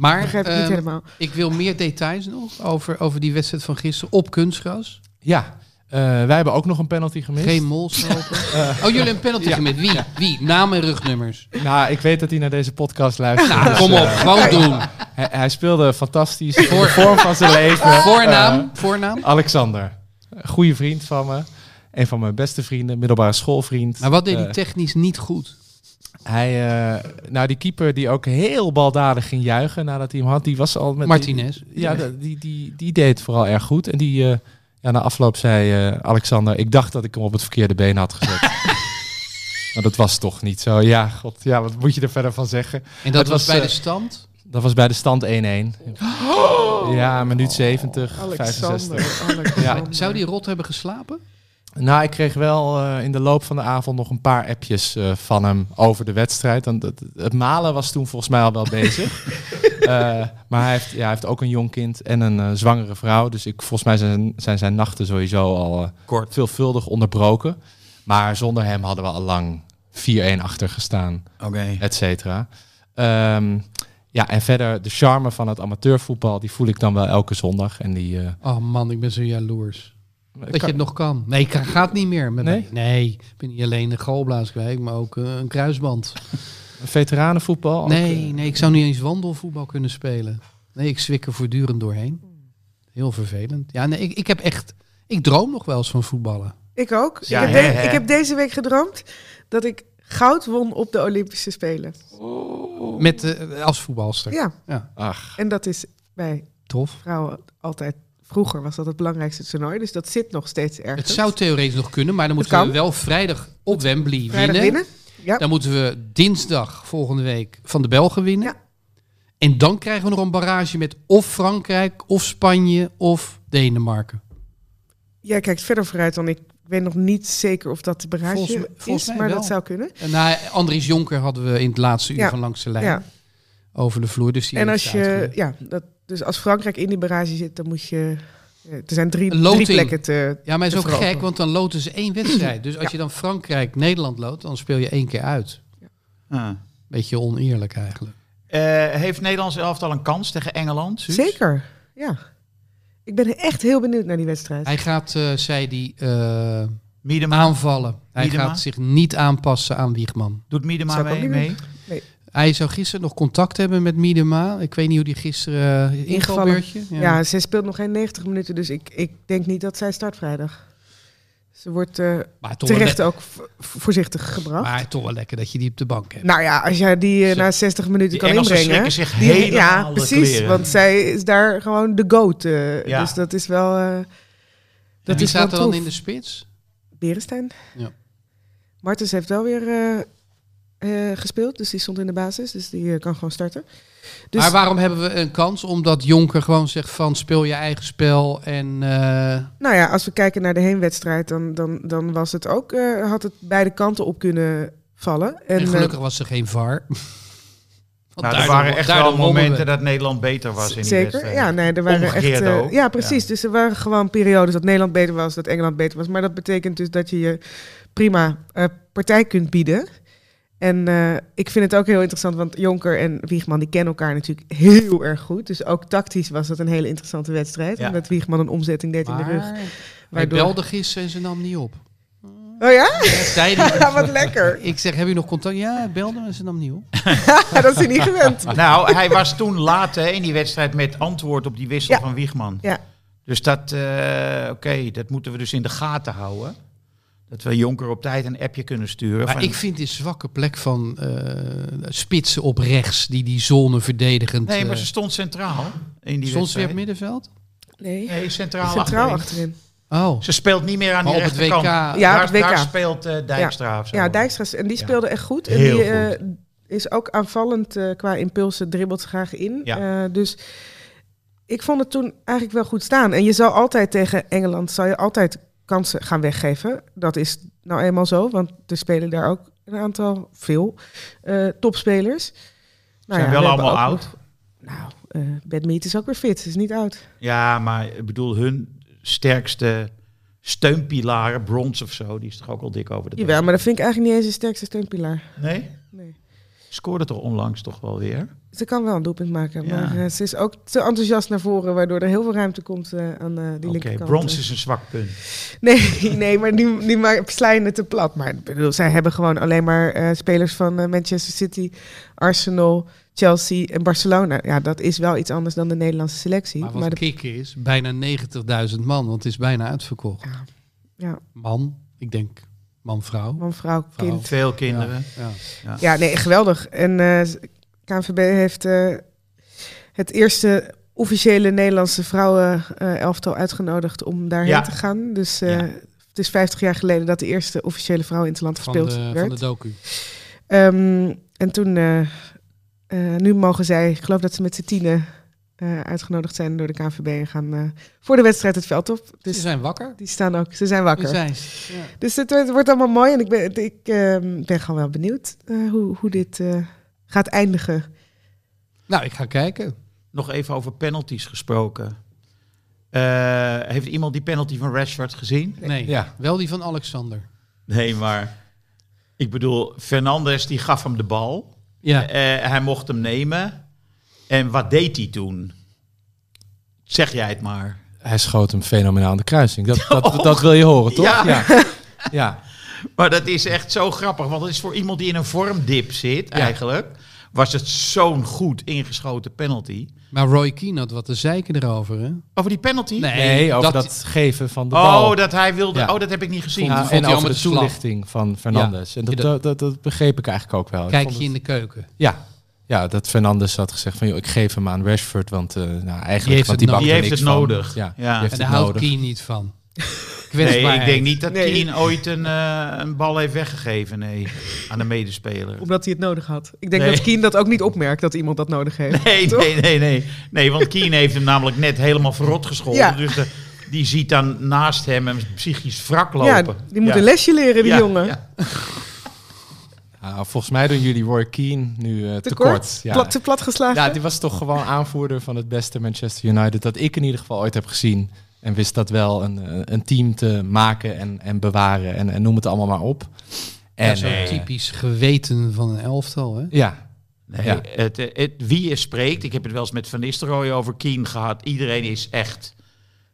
Speaker 3: Maar
Speaker 4: begrijp ik niet
Speaker 3: ehm,
Speaker 4: helemaal.
Speaker 3: ik wil meer details nog over, over die wedstrijd van gisteren op kunstgras.
Speaker 6: Ja, eh, wij hebben ook nog een penalty gemist.
Speaker 3: Geen molslopen. oh, jullie hebben een penalty gemist. Wie? Wie? Namen en rugnummers.
Speaker 6: Nou, ik weet dat hij naar deze podcast luistert. dus,
Speaker 3: Nou, Kom op,
Speaker 6: eh,
Speaker 3: gewoon doen.
Speaker 6: hij, hij speelde fantastisch. in
Speaker 3: Voor-
Speaker 6: de vorm van zijn leven.
Speaker 3: Voornaam, voornaam.
Speaker 6: Eh, Alexander. Een Goede vriend van me. Een van mijn beste vrienden. Middelbare schoolvriend.
Speaker 3: Maar wat deed hij
Speaker 6: Eh,
Speaker 3: technisch niet goed?
Speaker 6: Hij, eh, nou, die keeper die ook heel baldadig ging juichen nadat hij hem had, die was al met.
Speaker 3: Martinez.
Speaker 6: die- ja, de- die, die, die deed het vooral erg goed. En die, eh, ja, na afloop zei eh, Alexander: Ik dacht dat ik hem op het verkeerde been had gezet. Maar dat was toch niet zo. Ja, god, ja, wat moet je er verder van zeggen?
Speaker 3: En dat
Speaker 6: het
Speaker 3: was,
Speaker 6: was,
Speaker 3: bij
Speaker 6: eh,
Speaker 3: de stand.
Speaker 6: Dat was bij de stand 1-1. ja, minuut 70,
Speaker 4: Oh, Alexander.
Speaker 6: 65.
Speaker 4: Alexander.
Speaker 3: Zou die rot hebben geslapen?
Speaker 6: Nou, ik kreeg wel eh, in de loop van de avond nog een paar appjes eh, van hem over de wedstrijd. En dat, het malen was toen volgens mij al wel bezig. Eh, maar hij heeft, ja, hij heeft ook een jong kind en een eh, zwangere vrouw. Dus ik, volgens mij zijn, zijn zijn nachten sowieso al eh,
Speaker 2: Kort.
Speaker 6: veelvuldig onderbroken. Maar zonder hem hadden we al lang 4-1 achter gestaan
Speaker 2: Oké.
Speaker 6: et cetera. Ehm, ja, en verder de charme van het amateurvoetbal, die voel ik dan wel elke zondag. En die, eh,
Speaker 3: Oh man, ik ben zo jaloers. Dat
Speaker 6: kan-
Speaker 3: je het nog kan. Nee, ik ga- gaat niet meer. Met
Speaker 6: Nee?
Speaker 3: mij. nee, ik ben niet alleen de galblaas kwijt, maar ook eh, een kruisband.
Speaker 6: Veteranenvoetbal? eh,
Speaker 3: Nee, nee, ik zou niet eens wandelvoetbal kunnen spelen. Nee, ik zwik er voortdurend doorheen. Heel vervelend. Ja, nee, ik, ik heb echt... Ik droom nog wel eens van voetballen.
Speaker 4: Ik ook.
Speaker 2: Ja,
Speaker 4: ik, heb
Speaker 2: hè,
Speaker 4: de-
Speaker 2: hè.
Speaker 4: ik heb deze week gedroomd dat ik goud won op de Olympische Spelen.
Speaker 3: Met, eh, als voetbalster.
Speaker 4: Ja,
Speaker 6: Ach,
Speaker 4: en dat is bij
Speaker 3: Tof.
Speaker 4: vrouwen altijd... Vroeger was dat het belangrijkste toernooi, dus dat zit nog steeds ergens.
Speaker 3: Het zou theoretisch nog kunnen, maar dan
Speaker 4: Het
Speaker 3: moeten we
Speaker 4: kan.
Speaker 3: wel vrijdag op Wembley
Speaker 4: Vrijdag
Speaker 3: winnen.
Speaker 4: winnen. Ja.
Speaker 3: Dan moeten we dinsdag volgende week van de Belgen winnen.
Speaker 4: Ja.
Speaker 3: En dan krijgen we nog een barrage met of Frankrijk, of Spanje, of Denemarken.
Speaker 4: Jij kijkt verder vooruit dan ik. Ik weet nog niet zeker of dat de barrage
Speaker 3: Volgens mij- volgens
Speaker 4: is,
Speaker 3: mij
Speaker 4: maar
Speaker 3: wel.
Speaker 4: dat zou kunnen.
Speaker 3: En na Andries Jonker hadden we in het laatste uur
Speaker 4: Ja.
Speaker 3: van langs de lijn
Speaker 4: Ja.
Speaker 3: over de vloer. Dus die
Speaker 4: En
Speaker 3: heeft
Speaker 4: als
Speaker 3: ze
Speaker 4: je,
Speaker 3: uitgelegd.
Speaker 4: ja, dat, dus als Frankrijk in die barrage zit, dan moet je. eh, Er zijn drie,
Speaker 3: Een loting.
Speaker 4: drie plekken te.
Speaker 3: Ja, maar het is
Speaker 4: te
Speaker 3: ook
Speaker 4: verhogen.
Speaker 3: gek, want dan loten ze één wedstrijd. Dus als
Speaker 4: Ja.
Speaker 3: je dan Frankrijk-Nederland loopt, dan speel je één keer uit.
Speaker 2: Ah.
Speaker 3: Beetje oneerlijk eigenlijk.
Speaker 2: Eh, heeft Nederlands elftal een kans tegen Engeland? Suus?
Speaker 4: Zeker, ja. Ik ben echt heel benieuwd naar die wedstrijd.
Speaker 3: Hij gaat, eh zei die, eh,
Speaker 2: Miedema,
Speaker 3: aanvallen. Hij
Speaker 2: Miedema?
Speaker 3: gaat zich niet aanpassen aan Wiegman.
Speaker 2: doet Miedema
Speaker 4: Zou ik ook
Speaker 2: mee?
Speaker 4: niet
Speaker 2: mee?
Speaker 3: Hij zou gisteren nog contact hebben met Miedema. Ik weet niet hoe die gisteren uh,
Speaker 4: Ingevallen.
Speaker 3: ingevalbeurtje.
Speaker 4: ja. zij speelt nog geen 90 minuten, dus ik, ik denk niet dat zij start vrijdag. Ze wordt eh,
Speaker 3: Maar, toch wel
Speaker 4: terecht
Speaker 3: le-
Speaker 4: ook v- voorzichtig gebracht.
Speaker 3: maar toch wel lekker dat je die op de bank hebt.
Speaker 4: nou ja, als jij die eh,
Speaker 2: Ze-
Speaker 4: na 60 minuten
Speaker 2: Die
Speaker 4: kan
Speaker 2: Engelsen
Speaker 4: inbrengen.
Speaker 2: schrikken zich
Speaker 4: Die-
Speaker 2: helemaal
Speaker 4: ja,
Speaker 2: de
Speaker 4: precies.
Speaker 2: kleren.
Speaker 4: Want zij is daar gewoon de goat. eh,
Speaker 2: Ja.
Speaker 4: Dus dat is wel. eh dat
Speaker 3: Wie
Speaker 4: is wel
Speaker 3: staat er dan
Speaker 4: tof.
Speaker 3: in de spits?
Speaker 4: Berestein.
Speaker 3: Ja.
Speaker 4: Martens heeft wel weer eh, eh, gespeeld, dus die stond in de basis. Dus die eh, kan gewoon starten. Dus
Speaker 3: Maar waarom hebben we een kans? Omdat Jonker gewoon zegt van speel je eigen spel en... eh,
Speaker 4: nou ja, als we kijken naar de heenwedstrijd, dan, dan, dan was het ook, eh, had het beide kanten op kunnen vallen.
Speaker 3: En,
Speaker 4: eh,
Speaker 3: gelukkig was er geen VAR. Want
Speaker 2: Nou, er
Speaker 3: daardoor-
Speaker 2: waren echt
Speaker 3: daardoor
Speaker 2: wel
Speaker 3: wonnen we.
Speaker 2: momenten dat Nederland beter was in die
Speaker 4: Zeker,
Speaker 2: wedstrijd.
Speaker 4: ja, nee, er waren
Speaker 2: Omgekeerd
Speaker 4: echt. eh,
Speaker 2: ook.
Speaker 4: ja, precies. Dus er waren gewoon periodes dat Nederland beter was, dat Engeland beter was. Maar dat betekent dus dat je je prima eh, partij kunt bieden. En eh, ik vind het ook heel interessant, want Jonker en Wiegman die kennen elkaar natuurlijk heel erg goed. Dus ook tactisch was dat een hele interessante wedstrijd.
Speaker 2: Ja.
Speaker 4: Omdat Wiegman een omzetting deed in de rug.
Speaker 3: Maar hij
Speaker 4: Waardoor-
Speaker 3: belde gisteren en ze nam niet op.
Speaker 4: Oh ja?
Speaker 3: Ja, zei die-
Speaker 4: Ja, wat lekker.
Speaker 3: ik zeg, heb je nog contact? Ja, hij belde en ze nam niet op.
Speaker 4: dat is hij niet gewend.
Speaker 2: Nou, hij was toen laat hè, in die wedstrijd met antwoord op die wissel
Speaker 4: Ja.
Speaker 2: van Wiegman.
Speaker 4: Ja.
Speaker 2: Dus dat, eh, oké, dat moeten we dus in de gaten houden. Dat we Jonker op tijd een appje kunnen sturen.
Speaker 3: Maar
Speaker 2: van-
Speaker 3: ik vind die zwakke plek van eh, spitsen op rechts, die die zone verdedigend...
Speaker 2: nee, maar
Speaker 3: eh,
Speaker 2: ze stond centraal in die
Speaker 3: soms weer
Speaker 2: wedstrijd.
Speaker 3: op middenveld?
Speaker 4: Nee.
Speaker 2: Nee, centraal,
Speaker 4: Centraal
Speaker 2: achterin.
Speaker 4: achterin.
Speaker 3: Oh,
Speaker 2: Ze speelt niet meer aan
Speaker 3: maar
Speaker 2: die
Speaker 3: op het WK...
Speaker 2: rechterkant.
Speaker 4: Ja,
Speaker 2: daar,
Speaker 4: op het WK.
Speaker 2: daar speelt eh, Dijkstra of zo.
Speaker 4: Ja, Dijkstra. En die
Speaker 2: Ja.
Speaker 4: speelde echt goed. En
Speaker 2: Heel
Speaker 4: die eh, is ook aanvallend eh, qua impulsen, dribbelt ze graag in.
Speaker 2: Ja.
Speaker 4: Eh, dus ik vond het toen eigenlijk wel goed staan. En je zou altijd tegen Engeland, zou je altijd kansen gaan weggeven. Dat is nou eenmaal zo, want er spelen daar ook een aantal, veel, eh, topspelers. Nou
Speaker 2: Zijn
Speaker 4: ja,
Speaker 2: wel
Speaker 4: we hebben
Speaker 2: allemaal
Speaker 4: ook
Speaker 2: oud.
Speaker 4: nog- nou, eh Badmeet is ook weer fit, ze is niet oud.
Speaker 2: Ja, maar ik bedoel, hun sterkste steunpilaren, brons of zo, die is toch ook al dik over de
Speaker 4: Jawel, maar dat vind ik eigenlijk niet eens de sterkste steunpilaar.
Speaker 2: Nee?
Speaker 4: Nee.
Speaker 2: Scoorde toch onlangs toch wel weer?
Speaker 4: Ze kan wel een doelpunt maken,
Speaker 2: Ja.
Speaker 4: maar eh, ze is ook te enthousiast naar voren, waardoor er heel veel ruimte komt eh, aan eh, die
Speaker 2: Oké,
Speaker 4: linkerkant.
Speaker 2: brons is een zwak punt.
Speaker 4: Nee, nee maar nu, nu ma- slaan het te plat. Maar ik bedoel, zij hebben gewoon alleen maar eh, spelers van eh, Manchester City, Arsenal, Chelsea en Barcelona. Ja, dat is wel iets anders dan de Nederlandse selectie.
Speaker 3: Maar
Speaker 4: Maar
Speaker 3: wat
Speaker 4: de-
Speaker 3: kicken is, bijna 90.000 man, want het is bijna uitverkocht.
Speaker 4: Ja. Ja.
Speaker 3: Man, ik denk man-vrouw.
Speaker 4: man, vrouw,
Speaker 3: Vrouw.
Speaker 4: kind.
Speaker 2: Veel kinderen.
Speaker 3: Ja.
Speaker 4: Ja, nee, geweldig. En eh KNVB heeft eh, het eerste officiële Nederlandse vrouwen-elftal eh, uitgenodigd om daarheen
Speaker 2: Ja.
Speaker 4: te gaan. Dus eh,
Speaker 2: Ja.
Speaker 4: het is 50 jaar geleden dat de eerste officiële vrouw in het land
Speaker 3: Van,
Speaker 4: gespeeld
Speaker 3: de, van
Speaker 4: werd.
Speaker 3: de docu.
Speaker 4: Ehm, en toen, eh, eh, nu mogen zij, ik geloof dat ze met z'n tienen eh, uitgenodigd zijn door de KNVB en gaan eh, voor de wedstrijd het veld op.
Speaker 3: Ze
Speaker 4: Dus
Speaker 3: zijn wakker.
Speaker 4: die staan ook, ze zijn
Speaker 3: Ze
Speaker 4: wakker.
Speaker 3: zijn ze. Ja.
Speaker 4: Dus het, het wordt allemaal mooi en ik ben, ik, ehm, ben gewoon wel benieuwd eh, hoe, hoe dit eh, gaat eindigen.
Speaker 3: Nou, ik ga kijken.
Speaker 2: Nog even over penalties gesproken. Eh, heeft iemand die penalty van Rashford gezien?
Speaker 3: Nee,
Speaker 6: Ja.
Speaker 3: wel die van Alexander.
Speaker 2: Nee, maar ik bedoel, Fernandes die gaf hem de bal.
Speaker 3: Ja,
Speaker 2: Eh, hij mocht hem nemen. En wat deed hij toen? Zeg jij het maar.
Speaker 3: Oh.
Speaker 6: hij schoot hem fenomenaal aan de kruising. Dat, dat, dat wil je horen, toch?
Speaker 2: Ja.
Speaker 6: Ja. Ja.
Speaker 2: Maar dat is echt zo grappig. Want het is voor iemand die in een vormdip zit, eigenlijk. Was het zo'n goed ingeschoten penalty.
Speaker 3: Maar Roy Keane had wat te zeiken erover, hè?
Speaker 2: Over die penalty?
Speaker 6: Nee, over dat, geven van de bal.
Speaker 2: Oh, dat hij wilde.
Speaker 6: Ja.
Speaker 2: Oh, dat heb ik niet gezien.
Speaker 3: Vond-
Speaker 6: ja,
Speaker 3: hij
Speaker 6: en over
Speaker 3: allemaal
Speaker 6: de
Speaker 3: te slap.
Speaker 6: toelichting van Fernandes. En dat,
Speaker 3: Ja,
Speaker 6: dat, dat, dat begreep ik eigenlijk ook wel. Ik
Speaker 3: Kijk
Speaker 6: vond
Speaker 3: je
Speaker 6: het-
Speaker 3: in de keuken.
Speaker 6: ja. ja, dat Fernandes had gezegd van... Joh, ik geef hem aan Rashford, want eh, nou, eigenlijk...
Speaker 3: Die heeft
Speaker 6: want
Speaker 3: het nodig.
Speaker 6: bakt
Speaker 2: Die
Speaker 6: er
Speaker 2: heeft
Speaker 6: niks
Speaker 2: het
Speaker 6: van.
Speaker 2: nodig.
Speaker 6: Ja, die
Speaker 2: Ja.
Speaker 6: heeft
Speaker 3: En
Speaker 6: het
Speaker 3: daar houdt
Speaker 6: nodig.
Speaker 3: Keane niet van.
Speaker 2: Nee, ik
Speaker 3: Kwetsbaarheid.
Speaker 2: denk niet dat
Speaker 4: Nee.
Speaker 2: Keane ooit een, eh, een bal heeft weggegeven nee, aan een medespeler.
Speaker 4: Omdat hij het nodig had. Ik denk
Speaker 2: Nee.
Speaker 4: dat Kien dat ook niet opmerkt dat iemand dat nodig heeft.
Speaker 2: Nee,
Speaker 4: Toch?
Speaker 2: nee, nee, nee. Nee, want Keane heeft hem namelijk net helemaal verrot gescholden.
Speaker 4: Ja.
Speaker 2: Dus de- die ziet dan naast hem een psychisch wrak lopen.
Speaker 4: Ja, die moet een lesje leren, die
Speaker 2: Ja,
Speaker 4: jongen.
Speaker 2: ja.
Speaker 6: Ah, volgens mij doen jullie Roy Keane nu eh tekort.
Speaker 4: Tekort?
Speaker 6: Ja.
Speaker 4: Plat, te plat geslagen?
Speaker 6: ja, die was toch gewoon aanvoerder van het beste Manchester United... dat ik in ieder geval ooit heb gezien. En wist dat wel een, eh, een team te maken en, en bewaren. En, en noem het allemaal maar op. En,
Speaker 3: Ja, zo'n
Speaker 6: eh,
Speaker 3: typisch geweten van een elftal, hè?
Speaker 6: Ja,
Speaker 2: Nee,
Speaker 6: Ja.
Speaker 2: het, eh, het, wie er spreekt, ik heb het wel eens met Van Nistelrooy over Keane gehad. Iedereen is echt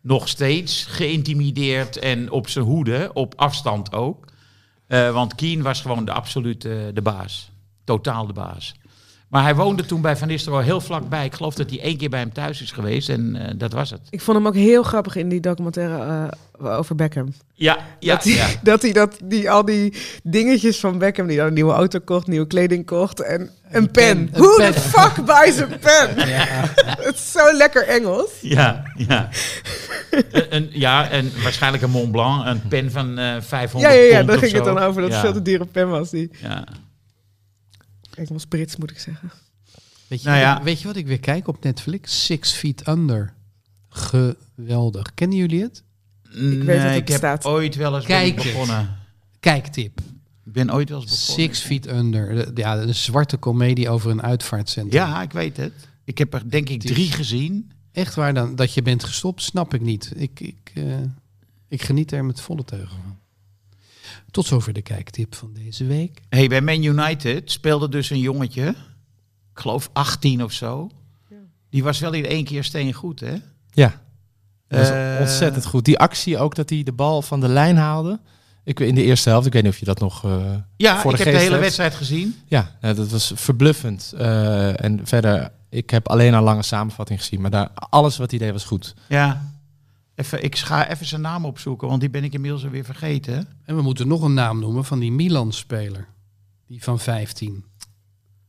Speaker 2: nog steeds geïntimideerd en op zijn hoede, op afstand ook. Eh, want Keane was gewoon de absolute de baas. Totaal de baas. Maar hij woonde toen bij Van Nistelrooy heel vlakbij. Ik geloof dat hij één keer bij hem thuis is geweest en eh, dat was het.
Speaker 4: Ik vond hem ook heel grappig in die documentaire eh, over Beckham.
Speaker 2: Ja, ja,
Speaker 4: dat hij, dat, hij dat die, al die dingetjes van Beckham, die dan een nieuwe auto kocht, nieuwe kleding kocht en een, pen.
Speaker 3: pen, een
Speaker 4: Who
Speaker 3: pen.
Speaker 4: the fuck buys a pen? Het is zo lekker Engels.
Speaker 2: Ja, ja. een, een- ja, en waarschijnlijk een Mont Blanc, een pen van eh 500
Speaker 4: Ja, ja, ja
Speaker 2: pond
Speaker 4: daar
Speaker 2: of
Speaker 4: ging het
Speaker 2: zo.
Speaker 4: dan over, dat
Speaker 2: ja.
Speaker 4: het veel te dure pen was. Die.
Speaker 2: Ja.
Speaker 4: Ik was Brits, moet ik zeggen.
Speaker 3: Weet je,
Speaker 2: Nou
Speaker 3: wat
Speaker 2: ja.
Speaker 3: ik- weet je wat ik weer kijk op Netflix? Six Feet Under. Geweldig. Kennen jullie het?
Speaker 2: Ik
Speaker 4: weet dat het
Speaker 2: ik heb
Speaker 4: bestaat.
Speaker 2: ooit wel eens ben
Speaker 3: Kijk
Speaker 2: ik
Speaker 3: het.
Speaker 2: begonnen.
Speaker 3: Kijktip.
Speaker 2: Ik ben ooit wel eens begonnen.
Speaker 3: Six Feet Under. De- Ja, een zwarte komedie over een uitvaartcentrum.
Speaker 2: Ja, ik weet het. Ik heb er denk ik
Speaker 3: Het is-
Speaker 2: drie gezien.
Speaker 3: Echt waar, dan, dat je bent gestopt, snap ik niet. Ik, ik, eh, ik geniet er met volle teugen van. Tot zover de kijktip van deze week.
Speaker 2: Hey, bij Man United speelde dus een jongetje, ik geloof 18 of zo.
Speaker 4: Ja.
Speaker 2: Die was wel in één keer steengoed, hè?
Speaker 6: Ja. Dat is
Speaker 2: Eh,
Speaker 6: ontzettend goed. Die actie ook dat hij de bal van de lijn haalde. Ik, weet- in de eerste helft, ik weet niet of je dat nog... eh,
Speaker 2: Ja,
Speaker 6: Voor
Speaker 2: ik heb de
Speaker 6: de geest
Speaker 2: hele
Speaker 6: hebt.
Speaker 2: wedstrijd gezien.
Speaker 6: ja, nou, dat was verbluffend. Eh, en verder, ik heb alleen een lange samenvatting gezien. Maar daar, alles wat hij deed was goed.
Speaker 2: Ja. Even, ik ga even zijn naam opzoeken, want die ben ik inmiddels alweer vergeten.
Speaker 3: En we moeten nog een naam noemen van die Milan-speler. Die van 15.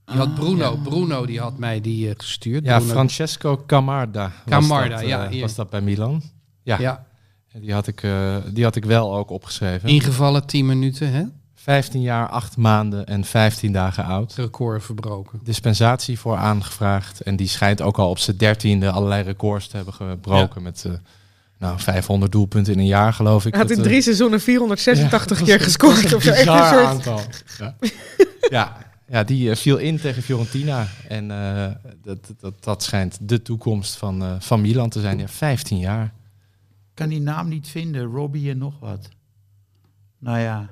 Speaker 3: Die had Bruno. Bruno die had mij die eh, gestuurd.
Speaker 6: Ja,
Speaker 3: Bruno-
Speaker 6: Francesco Camarda.
Speaker 3: Camarda,
Speaker 6: was dat, eh,
Speaker 3: ja, hier.
Speaker 6: was dat bij Milan. ja.
Speaker 3: Ja,
Speaker 6: En Die had ik, eh, die had ik wel ook opgeschreven.
Speaker 3: ingevallen 10 minuten, hè?
Speaker 6: 15 jaar, 8 maanden en 15 dagen oud.
Speaker 3: Het record verbroken.
Speaker 6: Dispensatie voor aangevraagd. En die schijnt ook al op zijn dertiende allerlei records te hebben gebroken. Met eh, nou, 500 doelpunten in een jaar, geloof ik.
Speaker 4: Hij had
Speaker 6: Dat,
Speaker 4: in
Speaker 6: eh,
Speaker 4: drie seizoenen 486
Speaker 6: Ja,
Speaker 4: keer
Speaker 6: dat is- dat is
Speaker 4: gescoord. Of zo.
Speaker 6: een
Speaker 4: Echt een
Speaker 6: bizar
Speaker 4: soort
Speaker 6: aantal. Ja. ja. ja, die eh, viel in tegen Fiorentina. En eh, dat, dat, dat schijnt de toekomst van, eh, van Milan te zijn. Ja, 15 jaar.
Speaker 2: Ik kan die naam niet vinden. Robbie en nog wat. Nou ja.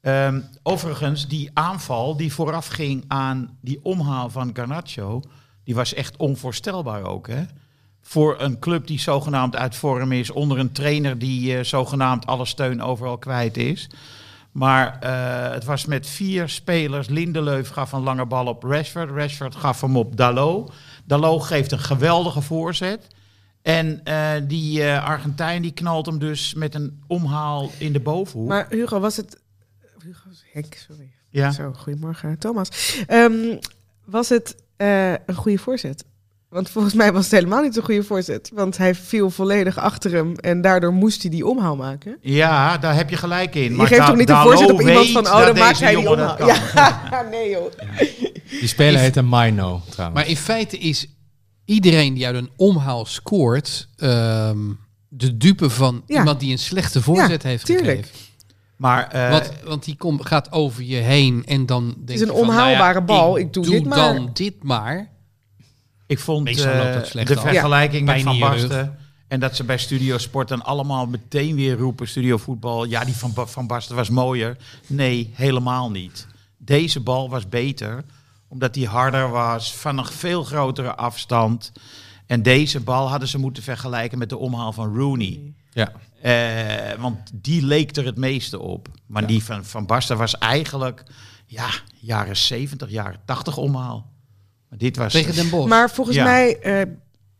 Speaker 2: Ehm, overigens, die aanval die voorafging aan die omhaal van Garnacho... die was echt onvoorstelbaar ook, hè? Voor een club die zogenaamd uit vorm is... onder een trainer die eh, zogenaamd alle steun overal kwijt is... Maar eh, het was met vier spelers. Lindeleuf gaf een lange bal op Rashford. Rashford gaf hem op Dalot. Dalot geeft een geweldige voorzet. En eh, die eh, Argentijn die knalt hem dus met een omhaal in de bovenhoek.
Speaker 4: Maar Hugo, was het... Hugo, Henk, sorry.
Speaker 2: ja.
Speaker 4: Zo, goedemorgen, Thomas. Ehm, was het eh, een goede voorzet? Want volgens mij was het helemaal niet een goede voorzet. Want hij viel volledig achter hem en daardoor moest hij die omhaal maken.
Speaker 2: ja, daar heb je gelijk in.
Speaker 4: je geeft
Speaker 2: Da-
Speaker 4: toch niet een
Speaker 2: Dalot
Speaker 4: voorzet op iemand
Speaker 2: weet
Speaker 4: van,
Speaker 2: dat
Speaker 4: oh, dan maakt
Speaker 2: deze
Speaker 4: hij die
Speaker 2: jongen dat
Speaker 4: omhaal. Ja, nee joh.
Speaker 6: Die speler heette Maino, trouwens.
Speaker 3: Maar in feite is iedereen die uit een omhaal scoort... ehm, de dupe van
Speaker 4: Ja.
Speaker 3: iemand die een slechte voorzet heeft
Speaker 4: tuurlijk.
Speaker 3: gegeven.
Speaker 2: Maar eh,
Speaker 3: Want, want die kom, gaat over je heen en dan denk
Speaker 4: Het is een
Speaker 3: je van, nou ja,
Speaker 4: onhaalbare bal, ik doe dit maar.
Speaker 3: dan dit maar.
Speaker 2: ik vond
Speaker 3: Meestal
Speaker 2: eh,
Speaker 3: loopt dat slecht
Speaker 2: de
Speaker 3: af.
Speaker 2: vergelijking
Speaker 3: Ja.
Speaker 2: met
Speaker 3: Pijn
Speaker 2: Van
Speaker 3: in je rug.
Speaker 2: Basten... en dat ze bij Studio Sport dan allemaal meteen weer roepen... Studio Voetbal, ja, die van, Ba- van Basten was mooier. Nee, helemaal niet. Deze bal was beter, omdat die harder was... van een veel grotere afstand... En deze bal hadden ze moeten vergelijken met de omhaal van Rooney.
Speaker 6: Ja.
Speaker 2: Eh, want die leek er het meeste op. Maar die van, van Barsten was eigenlijk ja, jaren 70, jaren 80 omhaal. Maar dit was
Speaker 3: Tegen Den Bosch.
Speaker 4: Maar volgens
Speaker 2: Ja.
Speaker 4: mij eh,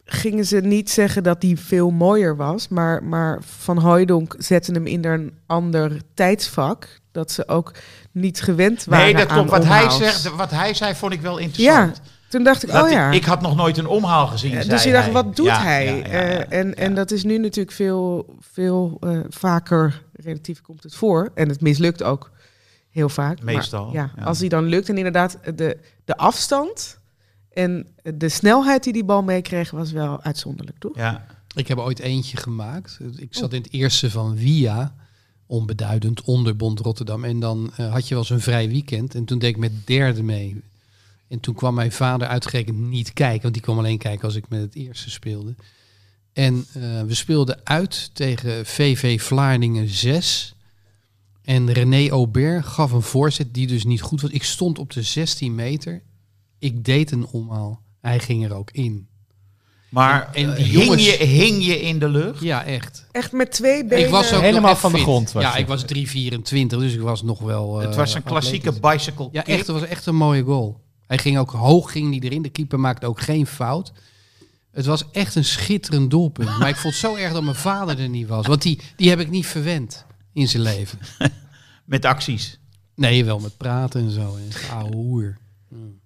Speaker 4: gingen ze niet zeggen dat die veel mooier was. Maar, maar Van Hooijdonk zette hem in een ander tijdsvak. Dat ze ook niet gewend waren
Speaker 2: Nee, dat klopt.
Speaker 4: aan
Speaker 2: Wat hij,
Speaker 4: omhaals.
Speaker 2: zegt, wat hij zei vond ik wel interessant.
Speaker 4: Toen dacht ik,
Speaker 2: Dat
Speaker 4: oh ja.
Speaker 2: ik, ik had nog nooit een omhaal gezien.
Speaker 4: Eh,
Speaker 2: zei
Speaker 4: dus je dacht,
Speaker 2: hij.
Speaker 4: wat doet
Speaker 2: Ja,
Speaker 4: hij?
Speaker 2: ja, ja,
Speaker 4: Eh,
Speaker 2: ja.
Speaker 4: en, en dat is nu natuurlijk veel, veel eh, vaker, relatief komt het voor. En het mislukt ook heel vaak. Maar
Speaker 2: Meestal,
Speaker 4: ja,
Speaker 2: ja.
Speaker 4: Als die dan lukt. En inderdaad, eh, de, de afstand en de snelheid die die bal meekreeg was wel uitzonderlijk, toch?
Speaker 2: Ja.
Speaker 3: Ik heb ooit eentje gemaakt. Ik zat in het eerste van Via, onbeduidend, onderbond Rotterdam. En dan eh, had je wel eens een vrij weekend. En toen deed ik met derde mee. En toen kwam mijn vader uitgerekend niet kijken. Want die kwam alleen kijken als ik met het eerste speelde. En eh, we speelden uit tegen VV Vlaardingen 6. En René Aubert gaf een voorzet die dus niet goed was. Ik stond op de 16 meter. Ik deed een omhaal. Hij ging er ook in.
Speaker 2: Maar
Speaker 3: En- en
Speaker 4: eh,
Speaker 3: die
Speaker 2: hing,
Speaker 3: jongens-
Speaker 2: je, hing je in de lucht?
Speaker 3: Ja, echt.
Speaker 4: Echt met twee benen.
Speaker 3: Ik was ook
Speaker 6: Helemaal
Speaker 3: nog echt
Speaker 6: van de
Speaker 3: fit.
Speaker 6: grond was
Speaker 3: ja,
Speaker 6: je.
Speaker 3: ik was 3,24, dus ik was nog wel. eh,
Speaker 2: het was een klassieke
Speaker 3: atletisch.
Speaker 2: bicycle
Speaker 3: Ja,
Speaker 2: kick.
Speaker 3: echt. Het was echt een mooie goal. Hij ging ook hoog, ging die erin. De keeper maakte ook geen fout. Het was echt een schitterend doelpunt. Maar ik vond het zo erg dat mijn vader er niet was. Want die, die heb ik niet verwend in zijn leven.
Speaker 2: Met acties.
Speaker 3: Nee, wel met praten en zo. En oude hoer. Mm.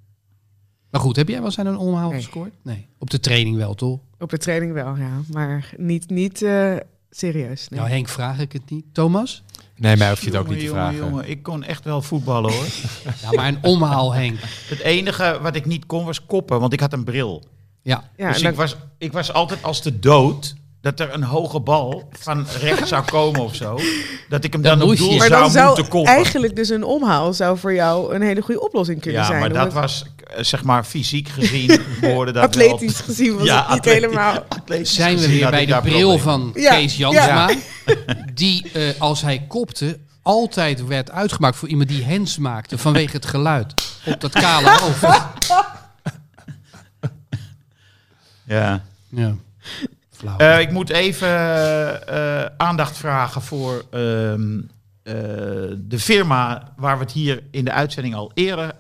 Speaker 3: Maar goed, heb jij wel eens aan een omhaal
Speaker 4: Nee.
Speaker 3: gescoord? Nee. Op de training wel, toch?
Speaker 4: Op de training wel, ja. Maar niet, niet eh, serieus. Nee.
Speaker 3: Nou, Henk, vraag ik het niet. Thomas?
Speaker 6: Nee, mij hoef je het ook niet te
Speaker 2: Jongen,
Speaker 6: vragen.
Speaker 2: jongen, jongen, ik kon echt wel voetballen hoor.
Speaker 3: Ja, maar een omhaal, Henk.
Speaker 2: het enige wat ik niet kon was koppen, want ik had een bril.
Speaker 3: Ja.
Speaker 4: ja,
Speaker 2: dus
Speaker 4: en dan-
Speaker 2: ik, was, ik was altijd als de dood dat er een hoge bal van rechts zou komen of zo. Dat ik hem
Speaker 3: Dan
Speaker 2: dan, op
Speaker 3: moest
Speaker 2: doel
Speaker 3: je.
Speaker 4: maar
Speaker 2: zou
Speaker 4: dan
Speaker 2: moeten
Speaker 4: zou
Speaker 2: koppen.
Speaker 4: eigenlijk dus een omhaal zou voor jou een hele goede oplossing kunnen
Speaker 2: ja,
Speaker 4: zijn.
Speaker 2: maar dat
Speaker 4: omdat
Speaker 2: was eh, zeg maar fysiek gezien worden dat wel-
Speaker 4: atletisch gezien was
Speaker 2: Ja,
Speaker 4: het niet
Speaker 2: atletisch.
Speaker 4: helemaal...
Speaker 2: Atletisch
Speaker 3: zijn we
Speaker 2: gezien
Speaker 3: weer
Speaker 2: had
Speaker 3: bij
Speaker 2: ik
Speaker 3: de
Speaker 2: daar
Speaker 3: bril
Speaker 2: problemen.
Speaker 3: van
Speaker 4: Ja,
Speaker 3: Kees Jansma. Die eh, als hij kopte altijd werd uitgemaakt voor iemand die hens maakte vanwege het geluid op dat kale hoofd.
Speaker 2: Ja.
Speaker 3: Ja. Flauw.
Speaker 2: Eh, ik moet even eh, eh, aandacht vragen voor ehm, eh, de firma waar we het hier in de uitzending al eerder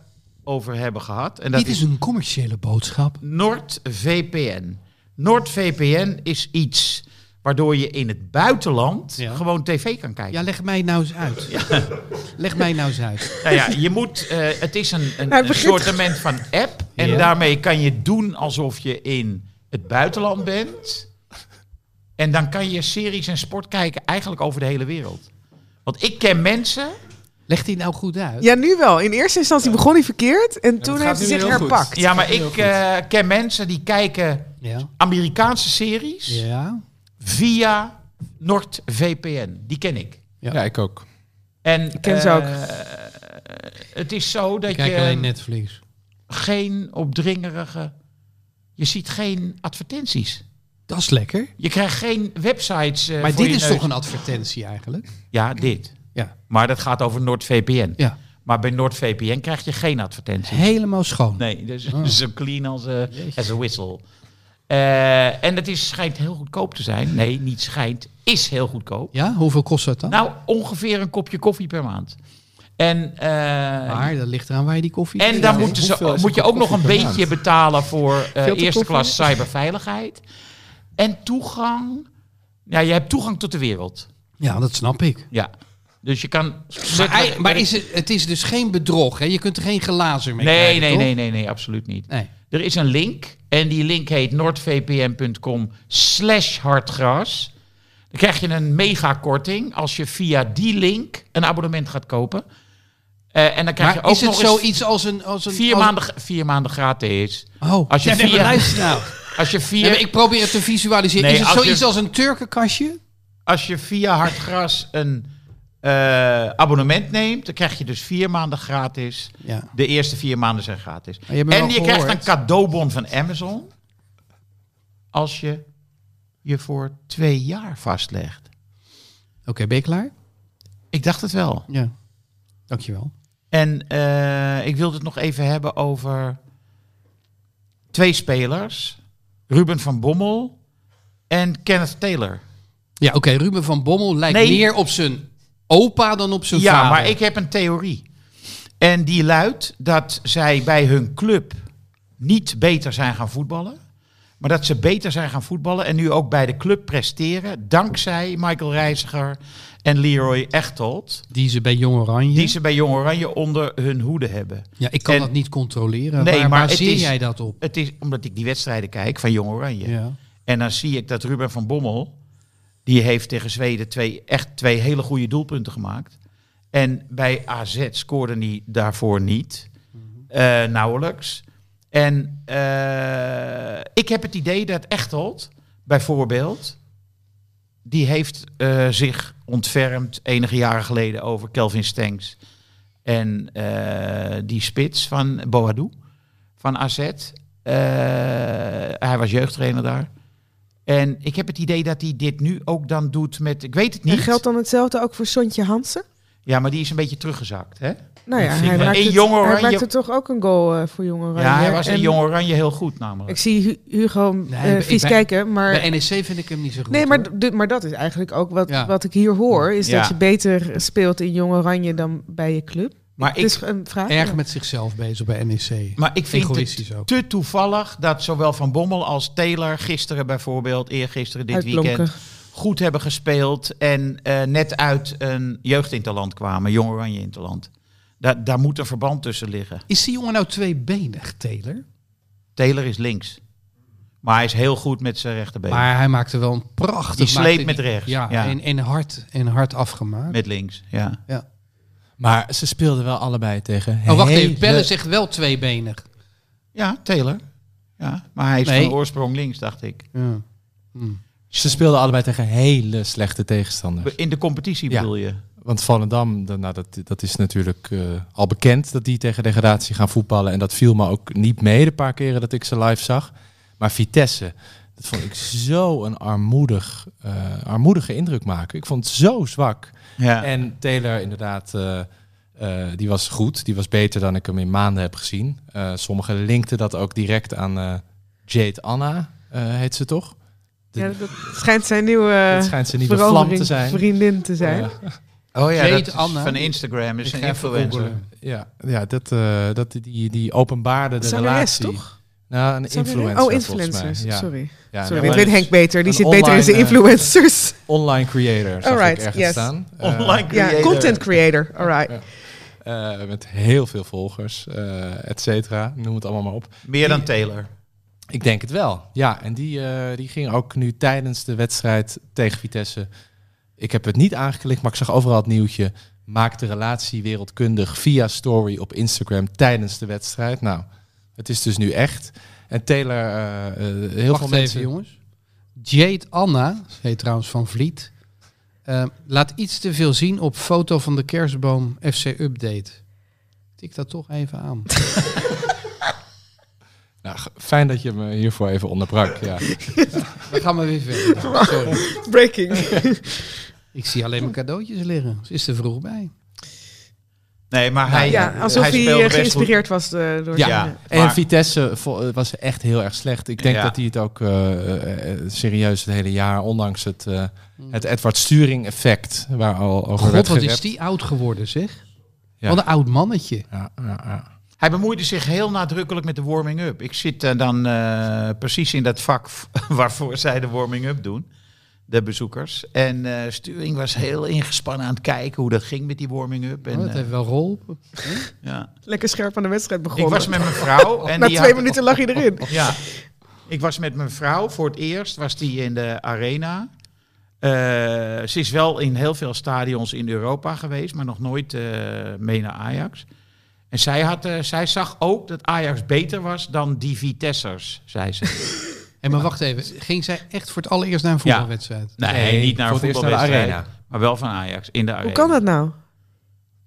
Speaker 2: over hebben gehad. En dat
Speaker 3: Dit is een commerciële boodschap.
Speaker 2: NordVPN. NordVPN is iets waardoor je in het buitenland
Speaker 3: Ja.
Speaker 2: gewoon tv kan kijken.
Speaker 3: Ja, leg mij nou eens uit. Leg mij nou eens uit.
Speaker 2: Nou ja, je moet, eh, het is een, een,
Speaker 4: Hij
Speaker 2: een
Speaker 4: Nou, begint-
Speaker 2: soortement van app. En
Speaker 3: Ja.
Speaker 2: daarmee kan je doen alsof je in het buitenland bent. En dan kan je series en sport kijken eigenlijk over de hele wereld. Want ik ken mensen.
Speaker 3: Leg die nou goed uit.
Speaker 4: Ja, nu wel. In eerste instantie begon hij verkeerd en toen
Speaker 6: gaat
Speaker 4: heeft hij
Speaker 6: nu
Speaker 4: zich
Speaker 6: heel goed.
Speaker 4: herpakt.
Speaker 2: Ja, maar
Speaker 6: heel
Speaker 2: ik eh, ken mensen die kijken
Speaker 3: Ja.
Speaker 2: Amerikaanse series
Speaker 3: Ja.
Speaker 2: via NordVPN. Die ken ik.
Speaker 6: Ja. ik ook.
Speaker 2: En,
Speaker 4: ken ze ook.
Speaker 2: eh, Het is zo dat
Speaker 3: Ik kijk ehm,
Speaker 2: je
Speaker 3: alleen Netflix.
Speaker 2: geen opdringerige... Je ziet geen advertenties.
Speaker 3: Dat is lekker.
Speaker 2: Je krijgt geen websites. eh,
Speaker 3: Maar
Speaker 2: voor
Speaker 3: dit
Speaker 2: je
Speaker 3: is
Speaker 2: neus.
Speaker 3: toch een advertentie eigenlijk?
Speaker 2: Ja, dit.
Speaker 3: Ja.
Speaker 2: Maar dat gaat over NordVPN.
Speaker 3: Ja.
Speaker 2: Maar bij NordVPN krijg je geen advertenties.
Speaker 3: Helemaal schoon.
Speaker 2: Nee, dus
Speaker 3: Oh.
Speaker 2: zo clean als, eh,
Speaker 3: Jeetje.
Speaker 2: als een whistle. Eh, en dat is, schijnt heel goedkoop te zijn. Nee, niet schijnt. Is heel goedkoop.
Speaker 3: Ja, hoeveel kost dat dan?
Speaker 2: Nou, ongeveer een kopje koffie per maand. En, eh,
Speaker 3: maar dat ligt eraan waar je die koffie
Speaker 2: en dan
Speaker 3: Ja.
Speaker 6: hoe-
Speaker 2: moeten
Speaker 6: hoeveel
Speaker 2: ze,
Speaker 6: is
Speaker 2: moet je
Speaker 6: een kop
Speaker 2: ook nog een
Speaker 6: koffie per
Speaker 2: beetje betalen voor eh,
Speaker 6: Filterkoffie?
Speaker 2: eerste klas cyberveiligheid. En toegang. Ja, je hebt toegang tot de wereld.
Speaker 3: Ja, dat snap ik.
Speaker 2: Ja. Dus je kan.
Speaker 3: Maar, ei- maar is het, het is dus geen bedrog, hè? Je kunt er geen glazer mee
Speaker 2: nee,
Speaker 3: krijgen,
Speaker 2: nee,
Speaker 3: toch?
Speaker 2: nee, nee, nee, absoluut niet.
Speaker 3: nee.
Speaker 2: Er is een link. En die link heet noordvpn.com slash hartgras. Dan krijg je een megakorting als je via die link een abonnement gaat kopen. Eh, en dan krijg je
Speaker 3: Maar
Speaker 2: ook
Speaker 3: is het
Speaker 2: nog eens
Speaker 3: zoiets als een... Als een
Speaker 2: vier,
Speaker 3: als-
Speaker 2: maanden, gra- vier maanden gratis.
Speaker 3: Oh,
Speaker 2: als je
Speaker 3: ja, nee, maar
Speaker 2: via-
Speaker 3: luister nou.
Speaker 2: Als je
Speaker 3: Nee, maar
Speaker 2: via,
Speaker 3: ik probeer het te visualiseren.
Speaker 2: Nee,
Speaker 3: is het
Speaker 2: als je-
Speaker 3: zoiets als een Turkenkastje?
Speaker 2: als je via hartgras een eh, abonnement neemt, dan krijg je dus vier maanden gratis.
Speaker 3: Ja.
Speaker 2: De eerste vier maanden zijn gratis.
Speaker 3: Maar je hebt me
Speaker 2: En
Speaker 3: wel
Speaker 2: je krijgt een
Speaker 3: gehoord.
Speaker 2: cadeaubon van Amazon. Als je je voor twee jaar vastlegt.
Speaker 3: Oké, ben je klaar?
Speaker 2: Ik dacht het wel.
Speaker 3: Ja. Dankjewel.
Speaker 2: En eh, ik wilde het nog even hebben over twee spelers. Ruben van Bommel en Kenneth Taylor.
Speaker 3: Ja, oké, Ruben van Bommel lijkt
Speaker 2: Nee.
Speaker 3: meer op zijn opa dan op zijn
Speaker 2: ja,
Speaker 3: vader.
Speaker 2: maar ik heb een theorie. En die luidt dat zij bij hun club niet beter zijn gaan voetballen. Maar dat ze beter zijn gaan voetballen en nu ook bij de club presteren. Dankzij Michael Reiziger en Leroy Echtold.
Speaker 3: Die ze bij Jong Oranje...
Speaker 2: Die ze bij Jong Oranje onder hun hoede hebben.
Speaker 3: Ja, ik kan
Speaker 2: en-
Speaker 3: dat niet controleren.
Speaker 2: Nee,
Speaker 3: waar,
Speaker 2: maar
Speaker 3: waar
Speaker 2: het
Speaker 3: zie
Speaker 2: is-
Speaker 3: jij dat op?
Speaker 2: Het is omdat ik die wedstrijden kijk van Jong Oranje.
Speaker 3: Ja.
Speaker 2: En dan zie ik dat Ruben van Bommel, die heeft tegen Zweden twee, echt twee hele goede doelpunten gemaakt. En bij AZ scoorde hij daarvoor niet. Eh, nauwelijks. En eh, ik heb het idee dat Echtold, bijvoorbeeld, die heeft eh, zich ontfermd enige jaren geleden over Kelvin Stengs. En eh, die spits van Boadou, van AZ. Eh, hij was jeugdtrainer daar. En ik heb het idee dat hij dit nu ook dan doet met... Ik weet het
Speaker 4: En
Speaker 2: niet.
Speaker 4: geldt dan hetzelfde ook voor Sontje Hansen?
Speaker 2: Ja, maar die is een beetje teruggezakt, hè?
Speaker 4: Nou ja,
Speaker 2: Dat vind
Speaker 4: hij
Speaker 2: ik wel.
Speaker 4: maakte,
Speaker 2: In
Speaker 4: het-
Speaker 2: Jong Oranje-
Speaker 4: hij maakte toch ook een goal eh, voor Jong Oranje.
Speaker 2: Ja, hij was in
Speaker 4: En
Speaker 2: Jong Oranje heel goed namelijk.
Speaker 4: Ik zie Hu- Hugo eh,
Speaker 3: Nee, ik
Speaker 4: vies
Speaker 3: ben-
Speaker 4: kijken, maar...
Speaker 3: Bij NEC vind ik hem niet zo goed.
Speaker 4: Nee,
Speaker 3: hoor.
Speaker 4: maar, d- maar dat is eigenlijk ook wat,
Speaker 3: Ja.
Speaker 4: wat ik hier hoor. Is
Speaker 2: Ja.
Speaker 4: dat je beter speelt in Jong Oranje dan bij je club.
Speaker 2: Maar
Speaker 4: Het
Speaker 2: ik,
Speaker 4: is een vraag.
Speaker 3: erg met zichzelf bezig bij E NEC.
Speaker 2: maar ik vind
Speaker 3: Egoïstisch
Speaker 2: het
Speaker 3: ook.
Speaker 2: te toevallig dat zowel Van Bommel als Taylor gisteren bijvoorbeeld, eergisteren dit
Speaker 4: Uitblonken.
Speaker 2: weekend, goed hebben gespeeld en eh, net uit een jeugdinterland kwamen, Jong Oranje Interland. Da daar moet een verband tussen liggen.
Speaker 3: Is die jongen nou tweebenig, Taylor?
Speaker 2: Taylor is links. Maar hij is heel goed met zijn rechterbeen.
Speaker 3: Maar hij maakte wel een prachtig...
Speaker 2: Die sleept
Speaker 3: maakte
Speaker 2: met rechts,
Speaker 3: Ja,
Speaker 2: ja.
Speaker 3: En, en, hard, en hard afgemaakt.
Speaker 2: Met links, ja.
Speaker 3: Ja.
Speaker 6: Maar ze speelden wel allebei tegen.
Speaker 3: Oh, wacht even.
Speaker 6: hele-
Speaker 3: Pelle zegt wel tweebenig.
Speaker 2: Ja, Taylor. Ja, maar hij is
Speaker 3: Nee.
Speaker 2: van oorsprong links, dacht ik.
Speaker 3: Ja. Hm.
Speaker 6: Ze speelden allebei tegen hele slechte tegenstanders.
Speaker 2: In de competitie
Speaker 6: Ja.
Speaker 2: bedoel je?
Speaker 6: Want Volendam, de- nou, dat, dat is natuurlijk eh, al bekend dat die tegen degradatie gaan voetballen. En dat viel me ook niet mee de paar keren dat ik ze live zag. Maar Vitesse, dat vond ik zo een armoedig, eh, armoedige indruk maken. Ik vond het zo zwak.
Speaker 2: Ja.
Speaker 6: En Taylor inderdaad, eh, eh, die was goed. Die was beter dan ik hem in maanden heb gezien. Eh, sommigen linkten dat ook direct aan eh, Jade Anna, eh, heet ze toch?
Speaker 4: Ja, dat schijnt zijn nieuwe,
Speaker 6: Het
Speaker 4: eh,
Speaker 6: schijnt ze niet de vlam te
Speaker 4: verovering
Speaker 6: zijn.
Speaker 4: vriendin te zijn.
Speaker 6: Ja.
Speaker 2: Oh ja,
Speaker 3: Jade
Speaker 2: dat is
Speaker 3: Anna.
Speaker 2: van Instagram is
Speaker 3: Ik
Speaker 2: een
Speaker 3: ga even
Speaker 2: influencer.
Speaker 3: googlen.
Speaker 6: Ja, ja dat, eh, dat, die, die openbaarde de
Speaker 4: Zangeres,
Speaker 6: relatie.
Speaker 4: toch?
Speaker 6: Nou, een
Speaker 4: Zangeres?
Speaker 6: influencer
Speaker 4: Oh,
Speaker 6: volgens
Speaker 4: influencers.
Speaker 6: mij. Ja.
Speaker 4: Sorry.
Speaker 6: Ja,
Speaker 4: Sorry,
Speaker 6: ja,
Speaker 4: dat
Speaker 6: maar
Speaker 4: weet Henk beter. Die
Speaker 6: een
Speaker 4: zit beter in zijn
Speaker 6: online, eh,
Speaker 4: influencers.
Speaker 6: Online creator zag
Speaker 4: Alright,
Speaker 6: ik ergens
Speaker 4: yes.
Speaker 6: staan. Eh,
Speaker 2: Online creator.
Speaker 4: ja, content creator. All right.
Speaker 6: eh, met heel veel volgers, eh et cetera. Noem het allemaal maar op.
Speaker 2: Meer dan Taylor.
Speaker 6: Ik denk het wel. Ja, en die, eh, die ging ook nu tijdens de wedstrijd tegen Vitesse. Ik heb het niet aangeklikt, maar ik zag overal het nieuwtje. Maak de relatie wereldkundig via story op Instagram tijdens de wedstrijd. Nou, het is dus nu echt. En Taylor, eh, eh, heel
Speaker 3: Wacht
Speaker 6: veel
Speaker 3: even,
Speaker 6: mensen.
Speaker 3: jongens. Jade Anna, ze heet trouwens Van Vliet, eh, laat iets te veel zien op foto van de kerstboom FC Update. Tik dat toch even aan.
Speaker 6: Nou, g- fijn dat je me hiervoor even onderbrak. Ja.
Speaker 3: Dan gaan we weer verder. Sorry.
Speaker 4: Breaking.
Speaker 3: Ik zie alleen maar cadeautjes liggen. Ze is er vroeg bij.
Speaker 2: Nee, maar hij,
Speaker 4: Ja, alsof
Speaker 2: hij
Speaker 4: hij,
Speaker 2: speelde
Speaker 4: eh,
Speaker 2: best
Speaker 4: geïnspireerd was eh, door
Speaker 2: Ja.
Speaker 4: zijn-
Speaker 6: En
Speaker 2: Maar-
Speaker 6: Vitesse vo- eh, was echt heel erg slecht. Ik denk
Speaker 2: Ja.
Speaker 6: dat hij het ook eh, eh, serieus het hele jaar, ondanks het, eh, het Edward Sturing effect, waar al over
Speaker 3: God,
Speaker 6: werd
Speaker 3: wat is
Speaker 6: gerept.
Speaker 3: die oud geworden, zeg.
Speaker 6: Ja.
Speaker 3: Wat een oud mannetje.
Speaker 6: Ja, ja, ja.
Speaker 2: goed. Hij bemoeide zich heel nadrukkelijk met de warming-up. Ik zit eh, dan eh, precies in dat vak v- waarvoor zij de warming-up doen. De bezoekers. En eh, Sturing was heel ingespannen aan het kijken hoe dat ging met die warming-up. En,
Speaker 3: Oh, dat
Speaker 2: eh,
Speaker 3: heeft wel geholpen.
Speaker 2: ja.
Speaker 4: Lekker scherp aan de wedstrijd
Speaker 2: Ik
Speaker 4: begonnen.
Speaker 2: was met mijn vrouw. En
Speaker 4: Na
Speaker 2: die
Speaker 4: twee
Speaker 2: had-
Speaker 4: minuten lag hij erin.
Speaker 2: Ja. Ik was met mijn vrouw voor het eerst, was die in de arena. Eh, ze is wel in heel veel stadions in Europa geweest, maar nog nooit eh, mee naar Ajax. En zij, had, eh, zij zag ook dat Ajax beter was dan die Vitessers, zei ze.
Speaker 3: En maar wacht even, ging zij echt voor het allereerst naar een voetbalwedstrijd?
Speaker 2: Nee,
Speaker 6: Nee,
Speaker 2: niet naar een
Speaker 6: voor het eerst naar de
Speaker 2: voetbalwedstrijd,
Speaker 6: arena.
Speaker 2: maar wel van Ajax, in de arena.
Speaker 4: Hoe kan dat nou?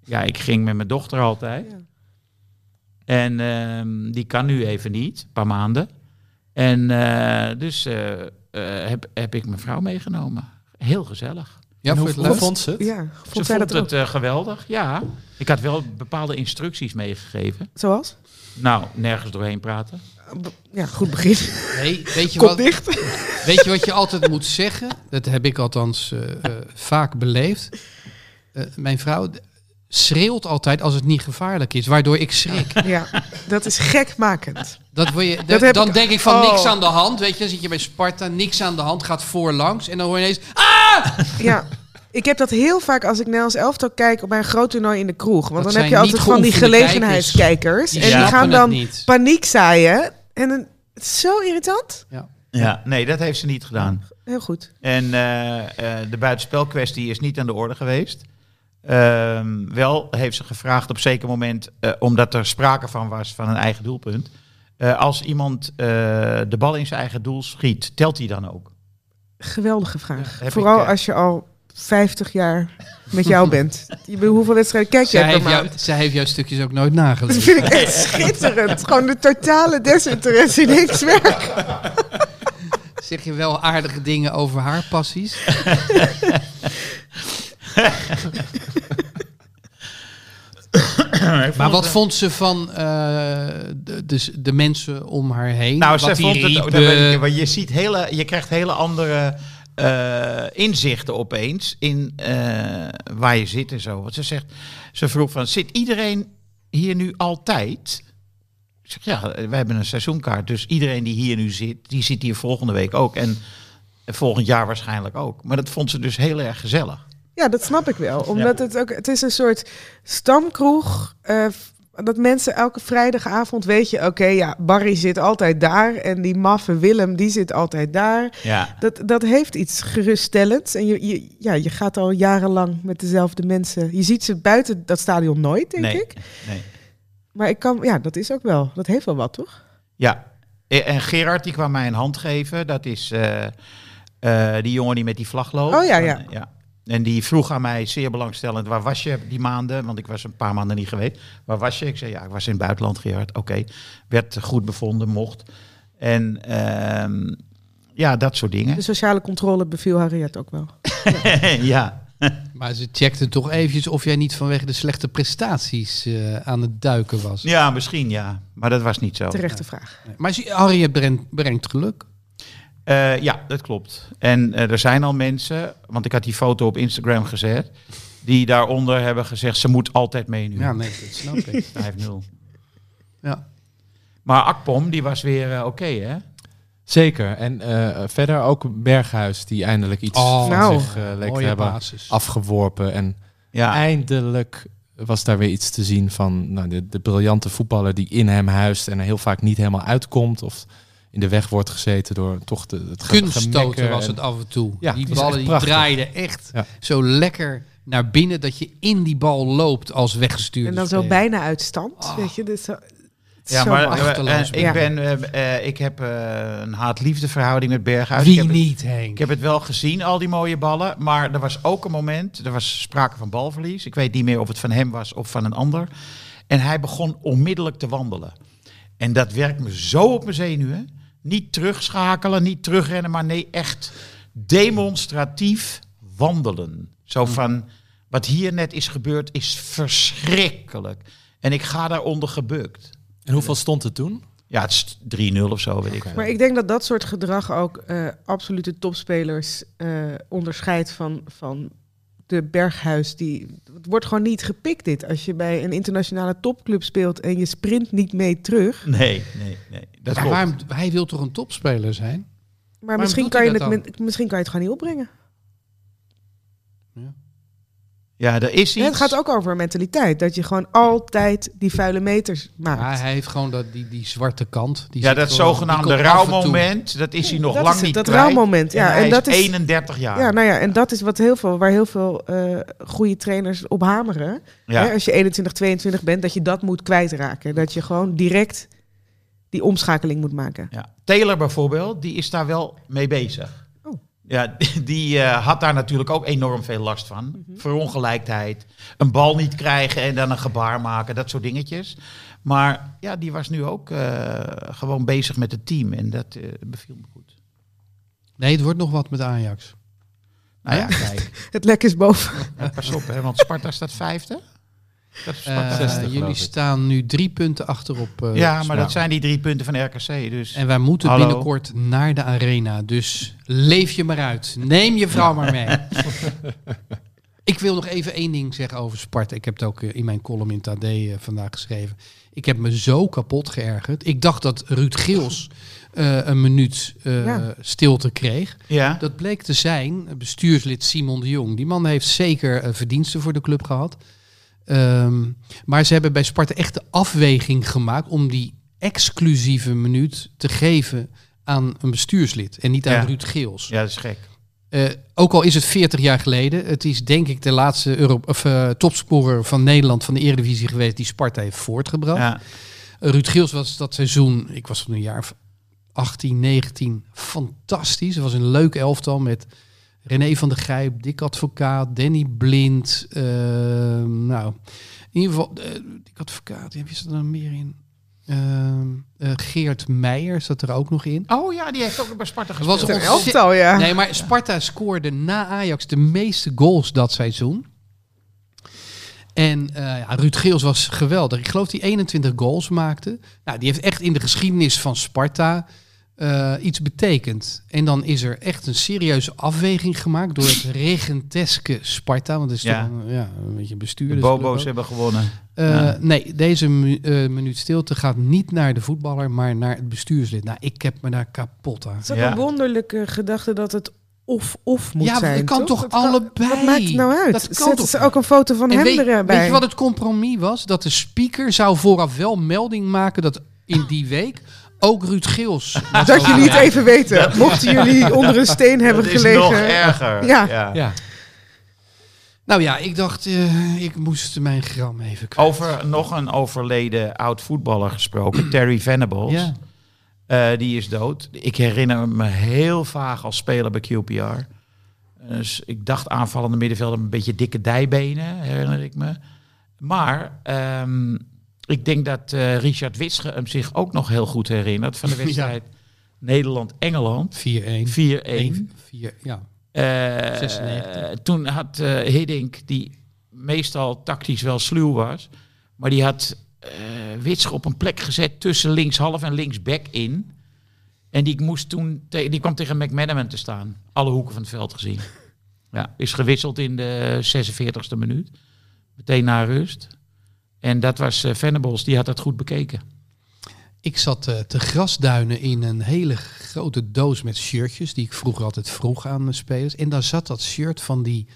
Speaker 2: Ja, ik ging met mijn dochter altijd.
Speaker 4: Ja.
Speaker 2: En ehm, die kan nu even niet, een paar maanden. En eh, dus eh, eh, heb, heb ik mijn vrouw meegenomen. Heel gezellig.
Speaker 3: Ja, voor
Speaker 6: En hoe,
Speaker 3: het
Speaker 6: hoe
Speaker 3: laatst.
Speaker 6: vond ze het?
Speaker 4: Ja, vond
Speaker 2: Ze
Speaker 4: zij
Speaker 2: vond
Speaker 4: dat ook?
Speaker 2: het eh, geweldig, ja. Ik had wel bepaalde instructies meegegeven.
Speaker 4: Zoals?
Speaker 2: Nou, nergens doorheen praten.
Speaker 4: ja, goed begin.
Speaker 3: Nee, weet je,
Speaker 4: Kop
Speaker 3: wat,
Speaker 4: dicht.
Speaker 3: weet je wat je altijd moet zeggen? Dat heb ik althans eh, eh, vaak beleefd. Eh, mijn vrouw d- schreeuwt altijd als het niet gevaarlijk is, waardoor ik schrik.
Speaker 4: Ja, dat is gekmakend.
Speaker 3: Dat wil je,
Speaker 4: Dat
Speaker 3: da-
Speaker 4: heb
Speaker 3: dan
Speaker 4: ik-
Speaker 3: denk ik van
Speaker 4: oh.
Speaker 3: niks aan de hand. Weet je, dan zit je bij Sparta, niks aan de hand, gaat voorlangs. En dan hoor je ineens, ah,
Speaker 4: Ja. Ik heb dat heel vaak als ik Nederlands elftal kijk op bij een groot toernooi in de kroeg. Want
Speaker 3: Dat
Speaker 4: dan heb
Speaker 3: zijn
Speaker 4: je altijd
Speaker 3: niet
Speaker 4: van die
Speaker 3: geoefende
Speaker 4: gelegenheidskijkers.
Speaker 3: die
Speaker 4: En die
Speaker 3: snappen
Speaker 4: gaan
Speaker 3: het
Speaker 4: dan
Speaker 3: niet.
Speaker 4: paniek zaaien. En dan- het is zo irritant.
Speaker 2: Ja, nee, dat heeft ze niet gedaan.
Speaker 4: Heel goed.
Speaker 2: En eh, eh, de buitenspelkwestie is niet aan de orde geweest. Ehm, wel heeft ze gevraagd op zeker moment, eh, omdat er sprake van was van een eigen doelpunt. eh, als iemand eh, de bal in zijn eigen doel schiet, telt hij dan ook?
Speaker 4: Geweldige vraag.
Speaker 2: Ja, heb
Speaker 4: Vooral
Speaker 2: ik, eh,
Speaker 4: als je al 50 jaar met jou bent. Je, be- hoeveel wedstrijden kijk jij per
Speaker 3: zij heeft,
Speaker 4: maand?
Speaker 3: jou, zij heeft jouw stukjes ook nooit
Speaker 4: Dat
Speaker 3: nagelezen.
Speaker 4: vind ik echt schitterend. Gewoon de totale desinteresse in niks werk.
Speaker 3: Zeg je wel aardige dingen over haar passies? Maar wat vond ze van eh, de, dus de mensen om haar heen?
Speaker 2: Nou,
Speaker 3: Wat
Speaker 2: ze
Speaker 3: die
Speaker 2: vond het ook.
Speaker 3: riepen?
Speaker 2: dat weet ik, maar je, ziet hele, je krijgt hele andere eh, inzichten opeens in eh, waar je zit en zo. Want ze zegt, ze vroeg van, zit iedereen hier nu altijd? Ik zeg, ja, we hebben een seizoenkaart, dus iedereen die hier nu zit, die zit hier volgende week ook. En volgend jaar waarschijnlijk ook. Maar dat vond ze dus heel erg gezellig.
Speaker 4: Ja, dat snap ik wel. Omdat het ook, het is een soort stamkroeg. eh, f- dat mensen elke vrijdagavond weet je, oké, ja, Barry zit altijd daar. En die maffe Willem, die zit altijd daar.
Speaker 2: Ja.
Speaker 4: Dat, dat heeft iets geruststellends. En je, je, ja, je gaat al jarenlang met dezelfde mensen. Je ziet ze buiten dat stadion nooit, denk
Speaker 2: nee,
Speaker 4: ik.
Speaker 2: Nee.
Speaker 4: Maar ik kan, ja, dat is ook wel, dat heeft wel wat, toch?
Speaker 2: Ja, E- en Gerard die kwam mij een hand geven. Dat is eh, eh, die jongen die met die vlag loopt.
Speaker 4: Oh, ja, ja.
Speaker 2: En die vroeg aan mij zeer belangstellend, waar was je die maanden? Want ik was een paar maanden niet geweest. Waar was je? Ik zei, ja, ik was in het buitenland, Gerard. Oké, werd goed bevonden, mocht. En ehm, ja, dat soort dingen.
Speaker 4: De sociale controle beviel Harriet ook wel.
Speaker 2: ja.
Speaker 3: Maar ze checkte toch eventjes of jij niet vanwege de slechte prestaties eh, aan het duiken was.
Speaker 2: ja, misschien ja. Maar dat was niet zo.
Speaker 4: Terechte vraag.
Speaker 3: Maar zie- Harriet brengt, brengt geluk.
Speaker 2: Eh, ja, dat klopt. En eh, er zijn al mensen, want ik had die foto op Instagram gezet, die daaronder hebben gezegd, ze moet altijd meenemen.
Speaker 3: Ja, nee, dat snap ik.
Speaker 2: 5-0.
Speaker 3: Ja.
Speaker 2: Maar Akpom, die was weer eh, oké, hè?
Speaker 6: Zeker. En eh, verder ook Berghuis, die eindelijk iets
Speaker 3: Oh,
Speaker 6: van
Speaker 4: Nou.
Speaker 6: zich eh, leek te
Speaker 3: Mooie
Speaker 6: hebben
Speaker 3: basis.
Speaker 6: afgeworpen. En
Speaker 2: Ja.
Speaker 6: eindelijk was daar weer iets te zien van nou, de, de briljante voetballer die in hem huist en er heel vaak niet helemaal uitkomt. Of in de weg wordt gezeten door toch de, het ge-
Speaker 3: Kunststoten
Speaker 6: gemekker
Speaker 3: was
Speaker 6: en-
Speaker 3: het af en toe.
Speaker 6: Ja,
Speaker 3: die
Speaker 6: het is
Speaker 3: ballen
Speaker 6: echt
Speaker 3: die
Speaker 6: prachtig.
Speaker 3: draaiden echt
Speaker 6: Ja.
Speaker 3: zo lekker naar binnen dat je in die bal loopt als weggestuurde
Speaker 4: En dan zo
Speaker 3: speler.
Speaker 4: bijna uit stand, weet je. Dus zo, het is
Speaker 2: Ah. Ja,
Speaker 4: zo
Speaker 2: maar
Speaker 4: mooi.
Speaker 2: eh,
Speaker 3: achterloos
Speaker 2: eh,
Speaker 4: ben.
Speaker 2: ik, ben, eh, eh, ik heb eh, een haat-liefde verhouding met Berghuis. ik
Speaker 3: Wie
Speaker 2: heb Het,
Speaker 3: niet, Henk?
Speaker 2: ik heb het wel gezien, al die mooie ballen. Maar er was ook een moment, er was sprake van balverlies. Ik weet niet meer of het van hem was of van een ander. En hij begon onmiddellijk te wandelen. En dat werkt me zo op mijn zenuwen. Niet terugschakelen, niet terugrennen, maar nee, echt demonstratief wandelen.
Speaker 4: Mm.
Speaker 2: Zo van, wat hier net is gebeurd is verschrikkelijk. En ik ga daaronder gebukt.
Speaker 6: En hoeveel stond het toen?
Speaker 2: Ja, het is 3-0 of zo, weet ik. veel.
Speaker 4: Maar ik denk dat dat soort gedrag ook eh, absolute topspelers eh, onderscheidt van, van de Berghuis. Die, het wordt gewoon niet gepikt dit. Als je bij een internationale topclub speelt en je sprint niet mee terug.
Speaker 2: Nee, nee, nee. Dat
Speaker 3: Maar
Speaker 2: klopt.
Speaker 3: waarom, hij wil toch een topspeler zijn?
Speaker 4: Maar misschien
Speaker 3: doet
Speaker 4: kan,
Speaker 3: hij
Speaker 4: je het,
Speaker 3: dat dan?
Speaker 4: min- misschien kan je het gewoon niet opbrengen.
Speaker 2: Ja, er is
Speaker 4: En
Speaker 2: iets.
Speaker 4: het gaat ook over mentaliteit. Dat je gewoon altijd die vuile meters maakt.
Speaker 3: Maar hij heeft gewoon dat, die, die zwarte kant. Die
Speaker 2: ja,
Speaker 3: zit
Speaker 2: dat
Speaker 3: gewoon- die
Speaker 2: zogenaamde
Speaker 3: komt af en toe.
Speaker 2: rouwmoment, dat is hij nog
Speaker 4: dat
Speaker 2: lang
Speaker 4: is het,
Speaker 2: niet
Speaker 4: dat
Speaker 2: kwijt.
Speaker 4: rouwmoment, ja.
Speaker 2: En,
Speaker 4: En dat
Speaker 2: dat is
Speaker 4: is-
Speaker 2: 31 jaar.
Speaker 4: Ja, nou ja, en dat is wat heel veel, waar heel veel eh, goede trainers op hameren.
Speaker 2: Ja.
Speaker 4: Hè, als je 21, 22 bent, dat je dat moet kwijtraken. Dat je gewoon direct die omschakeling moet maken.
Speaker 2: Ja. Taylor bijvoorbeeld, die is daar wel mee bezig.
Speaker 4: Oh.
Speaker 2: Ja, die eh, had daar natuurlijk ook enorm veel last van.
Speaker 4: Mhm.
Speaker 2: Verongelijkheid, een bal niet krijgen en dan een gebaar maken, dat soort dingetjes. Maar ja, die was nu ook eh, gewoon bezig met het team en dat eh, beviel me goed.
Speaker 3: Nee, het wordt nog wat met Ajax.
Speaker 2: Nou ja, kijk,
Speaker 4: Het lek is boven.
Speaker 2: eh, pas op, hè, want Sparta staat vijfde.
Speaker 6: Dat is
Speaker 3: Eh,
Speaker 6: 60, geloof
Speaker 3: jullie
Speaker 6: ik.
Speaker 3: staan nu drie punten achter op. eh,
Speaker 2: ja, maar
Speaker 3: Sparta.
Speaker 2: dat zijn die drie punten van RKC. Dus
Speaker 3: En wij moeten
Speaker 2: Hallo.
Speaker 3: binnenkort naar de arena. Dus leef je maar uit. Neem je vrouw maar mee. ik wil nog even één ding zeggen over Sparta. Ik heb het ook eh, in mijn column in het AD eh, vandaag geschreven. Ik heb me zo kapot geërgerd. Ik dacht dat Ruud Gils eh, een minuut eh,
Speaker 4: Ja.
Speaker 3: stilte kreeg.
Speaker 2: ja,
Speaker 3: Dat bleek te zijn eh, bestuurslid Simon de Jong. Die man heeft zeker eh, verdiensten voor de club gehad. Ehm, maar ze hebben bij Sparta echt de afweging gemaakt om die exclusieve minuut te geven aan een bestuurslid en niet aan
Speaker 2: Ja.
Speaker 3: Ruud Geels.
Speaker 2: ja, dat is gek.
Speaker 3: Eh, ook al is het 40 jaar geleden, het is denk ik de laatste Euro of, eh, topscorer van Nederland van de Eredivisie geweest die Sparta heeft voortgebracht.
Speaker 2: Ja.
Speaker 3: Ruud Geels was dat seizoen, ik was toen een jaar of 18, 19, fantastisch. Het was een leuk elftal met René van der Grijp, Dick Advocaat, Danny Blind. eh, nou, in ieder geval, eh, Dick Advocaat, ja, wie zat er dan meer in? Ehm, eh, Geert Meijer zat er ook nog in.
Speaker 2: Oh ja, die heeft ook bij Sparta
Speaker 3: Het was
Speaker 2: gespeeld.
Speaker 4: Een
Speaker 3: ontzettend-
Speaker 4: elftal,
Speaker 2: Ah.
Speaker 4: ja.
Speaker 3: Nee, maar Sparta scoorde na Ajax de meeste goals dat seizoen. En eh, ja, Ruud Geels was geweldig. Ik geloof die 21 goals maakte. Nou, die heeft echt in de geschiedenis van Sparta eh, iets betekend. En dan is er echt een serieuze afweging gemaakt door het regenteske Sparta. Want het is
Speaker 2: Ja.
Speaker 3: toch een, ja, een beetje
Speaker 2: De
Speaker 3: bestuurder.
Speaker 2: Bobo's hebben gewonnen.
Speaker 3: Eh,
Speaker 2: Ja.
Speaker 3: Nee, deze mu- eh, minuut stilte gaat niet naar de voetballer, maar naar het bestuurslid. Nou, ik heb me daar kapot aan.
Speaker 4: Het is ook
Speaker 2: Ja.
Speaker 4: een wonderlijke gedachte dat het of-of moet
Speaker 3: ja,
Speaker 4: zijn.
Speaker 3: het kan toch,
Speaker 4: Het
Speaker 3: allebei.
Speaker 4: Wat maakt het nou uit?
Speaker 3: Dat kan
Speaker 4: Zetten
Speaker 3: toch.
Speaker 4: ze ook een foto van
Speaker 3: En
Speaker 4: hem
Speaker 3: weet,
Speaker 4: erbij?
Speaker 3: weet je wat het compromis was? Dat de speaker zou vooraf wel melding maken dat in die week ook Ruud Geels. was
Speaker 4: Dat jullie het
Speaker 3: overleden.
Speaker 4: even weten. Mochten jullie onder een steen hebben
Speaker 2: dat
Speaker 4: gelegen.
Speaker 2: is nog erger.
Speaker 4: Ja.
Speaker 6: Ja.
Speaker 3: Nou ja, ik dacht, eh, ik moest mijn gram even kwijt.
Speaker 2: Over nog een overleden oud voetballer gesproken, Terry Venables.
Speaker 3: Ja.
Speaker 2: Eh, die is dood. Ik herinner me heel vaag als speler bij QPR. Dus ik dacht aanvallende middenvelder, een beetje dikke dijbenen, herinner ik me. Maar ehm, ik denk dat eh, Richard Witsche hem zich ook nog heel goed herinnert van de wedstrijd Nederland-Engeland
Speaker 3: 4-1.
Speaker 2: 4-1.
Speaker 3: 1, 4, ja.
Speaker 2: Eh,
Speaker 3: 96.
Speaker 2: toen had eh, Hiddink, die meestal tactisch wel sluw was, maar die had eh Witsche op een plek gezet tussen linkshalf en linksback in. En die, moest toen te- die kwam tegen McManaman te staan. Alle hoeken van het veld gezien. Ja, is gewisseld in de 46e minuut. Meteen na rust. En dat was eh, Venables, die had dat goed bekeken.
Speaker 3: Ik zat eh, te grasduinen in een hele grote doos met shirtjes. Die ik vroeger altijd vroeg aan de spelers. En daar zat dat shirt van die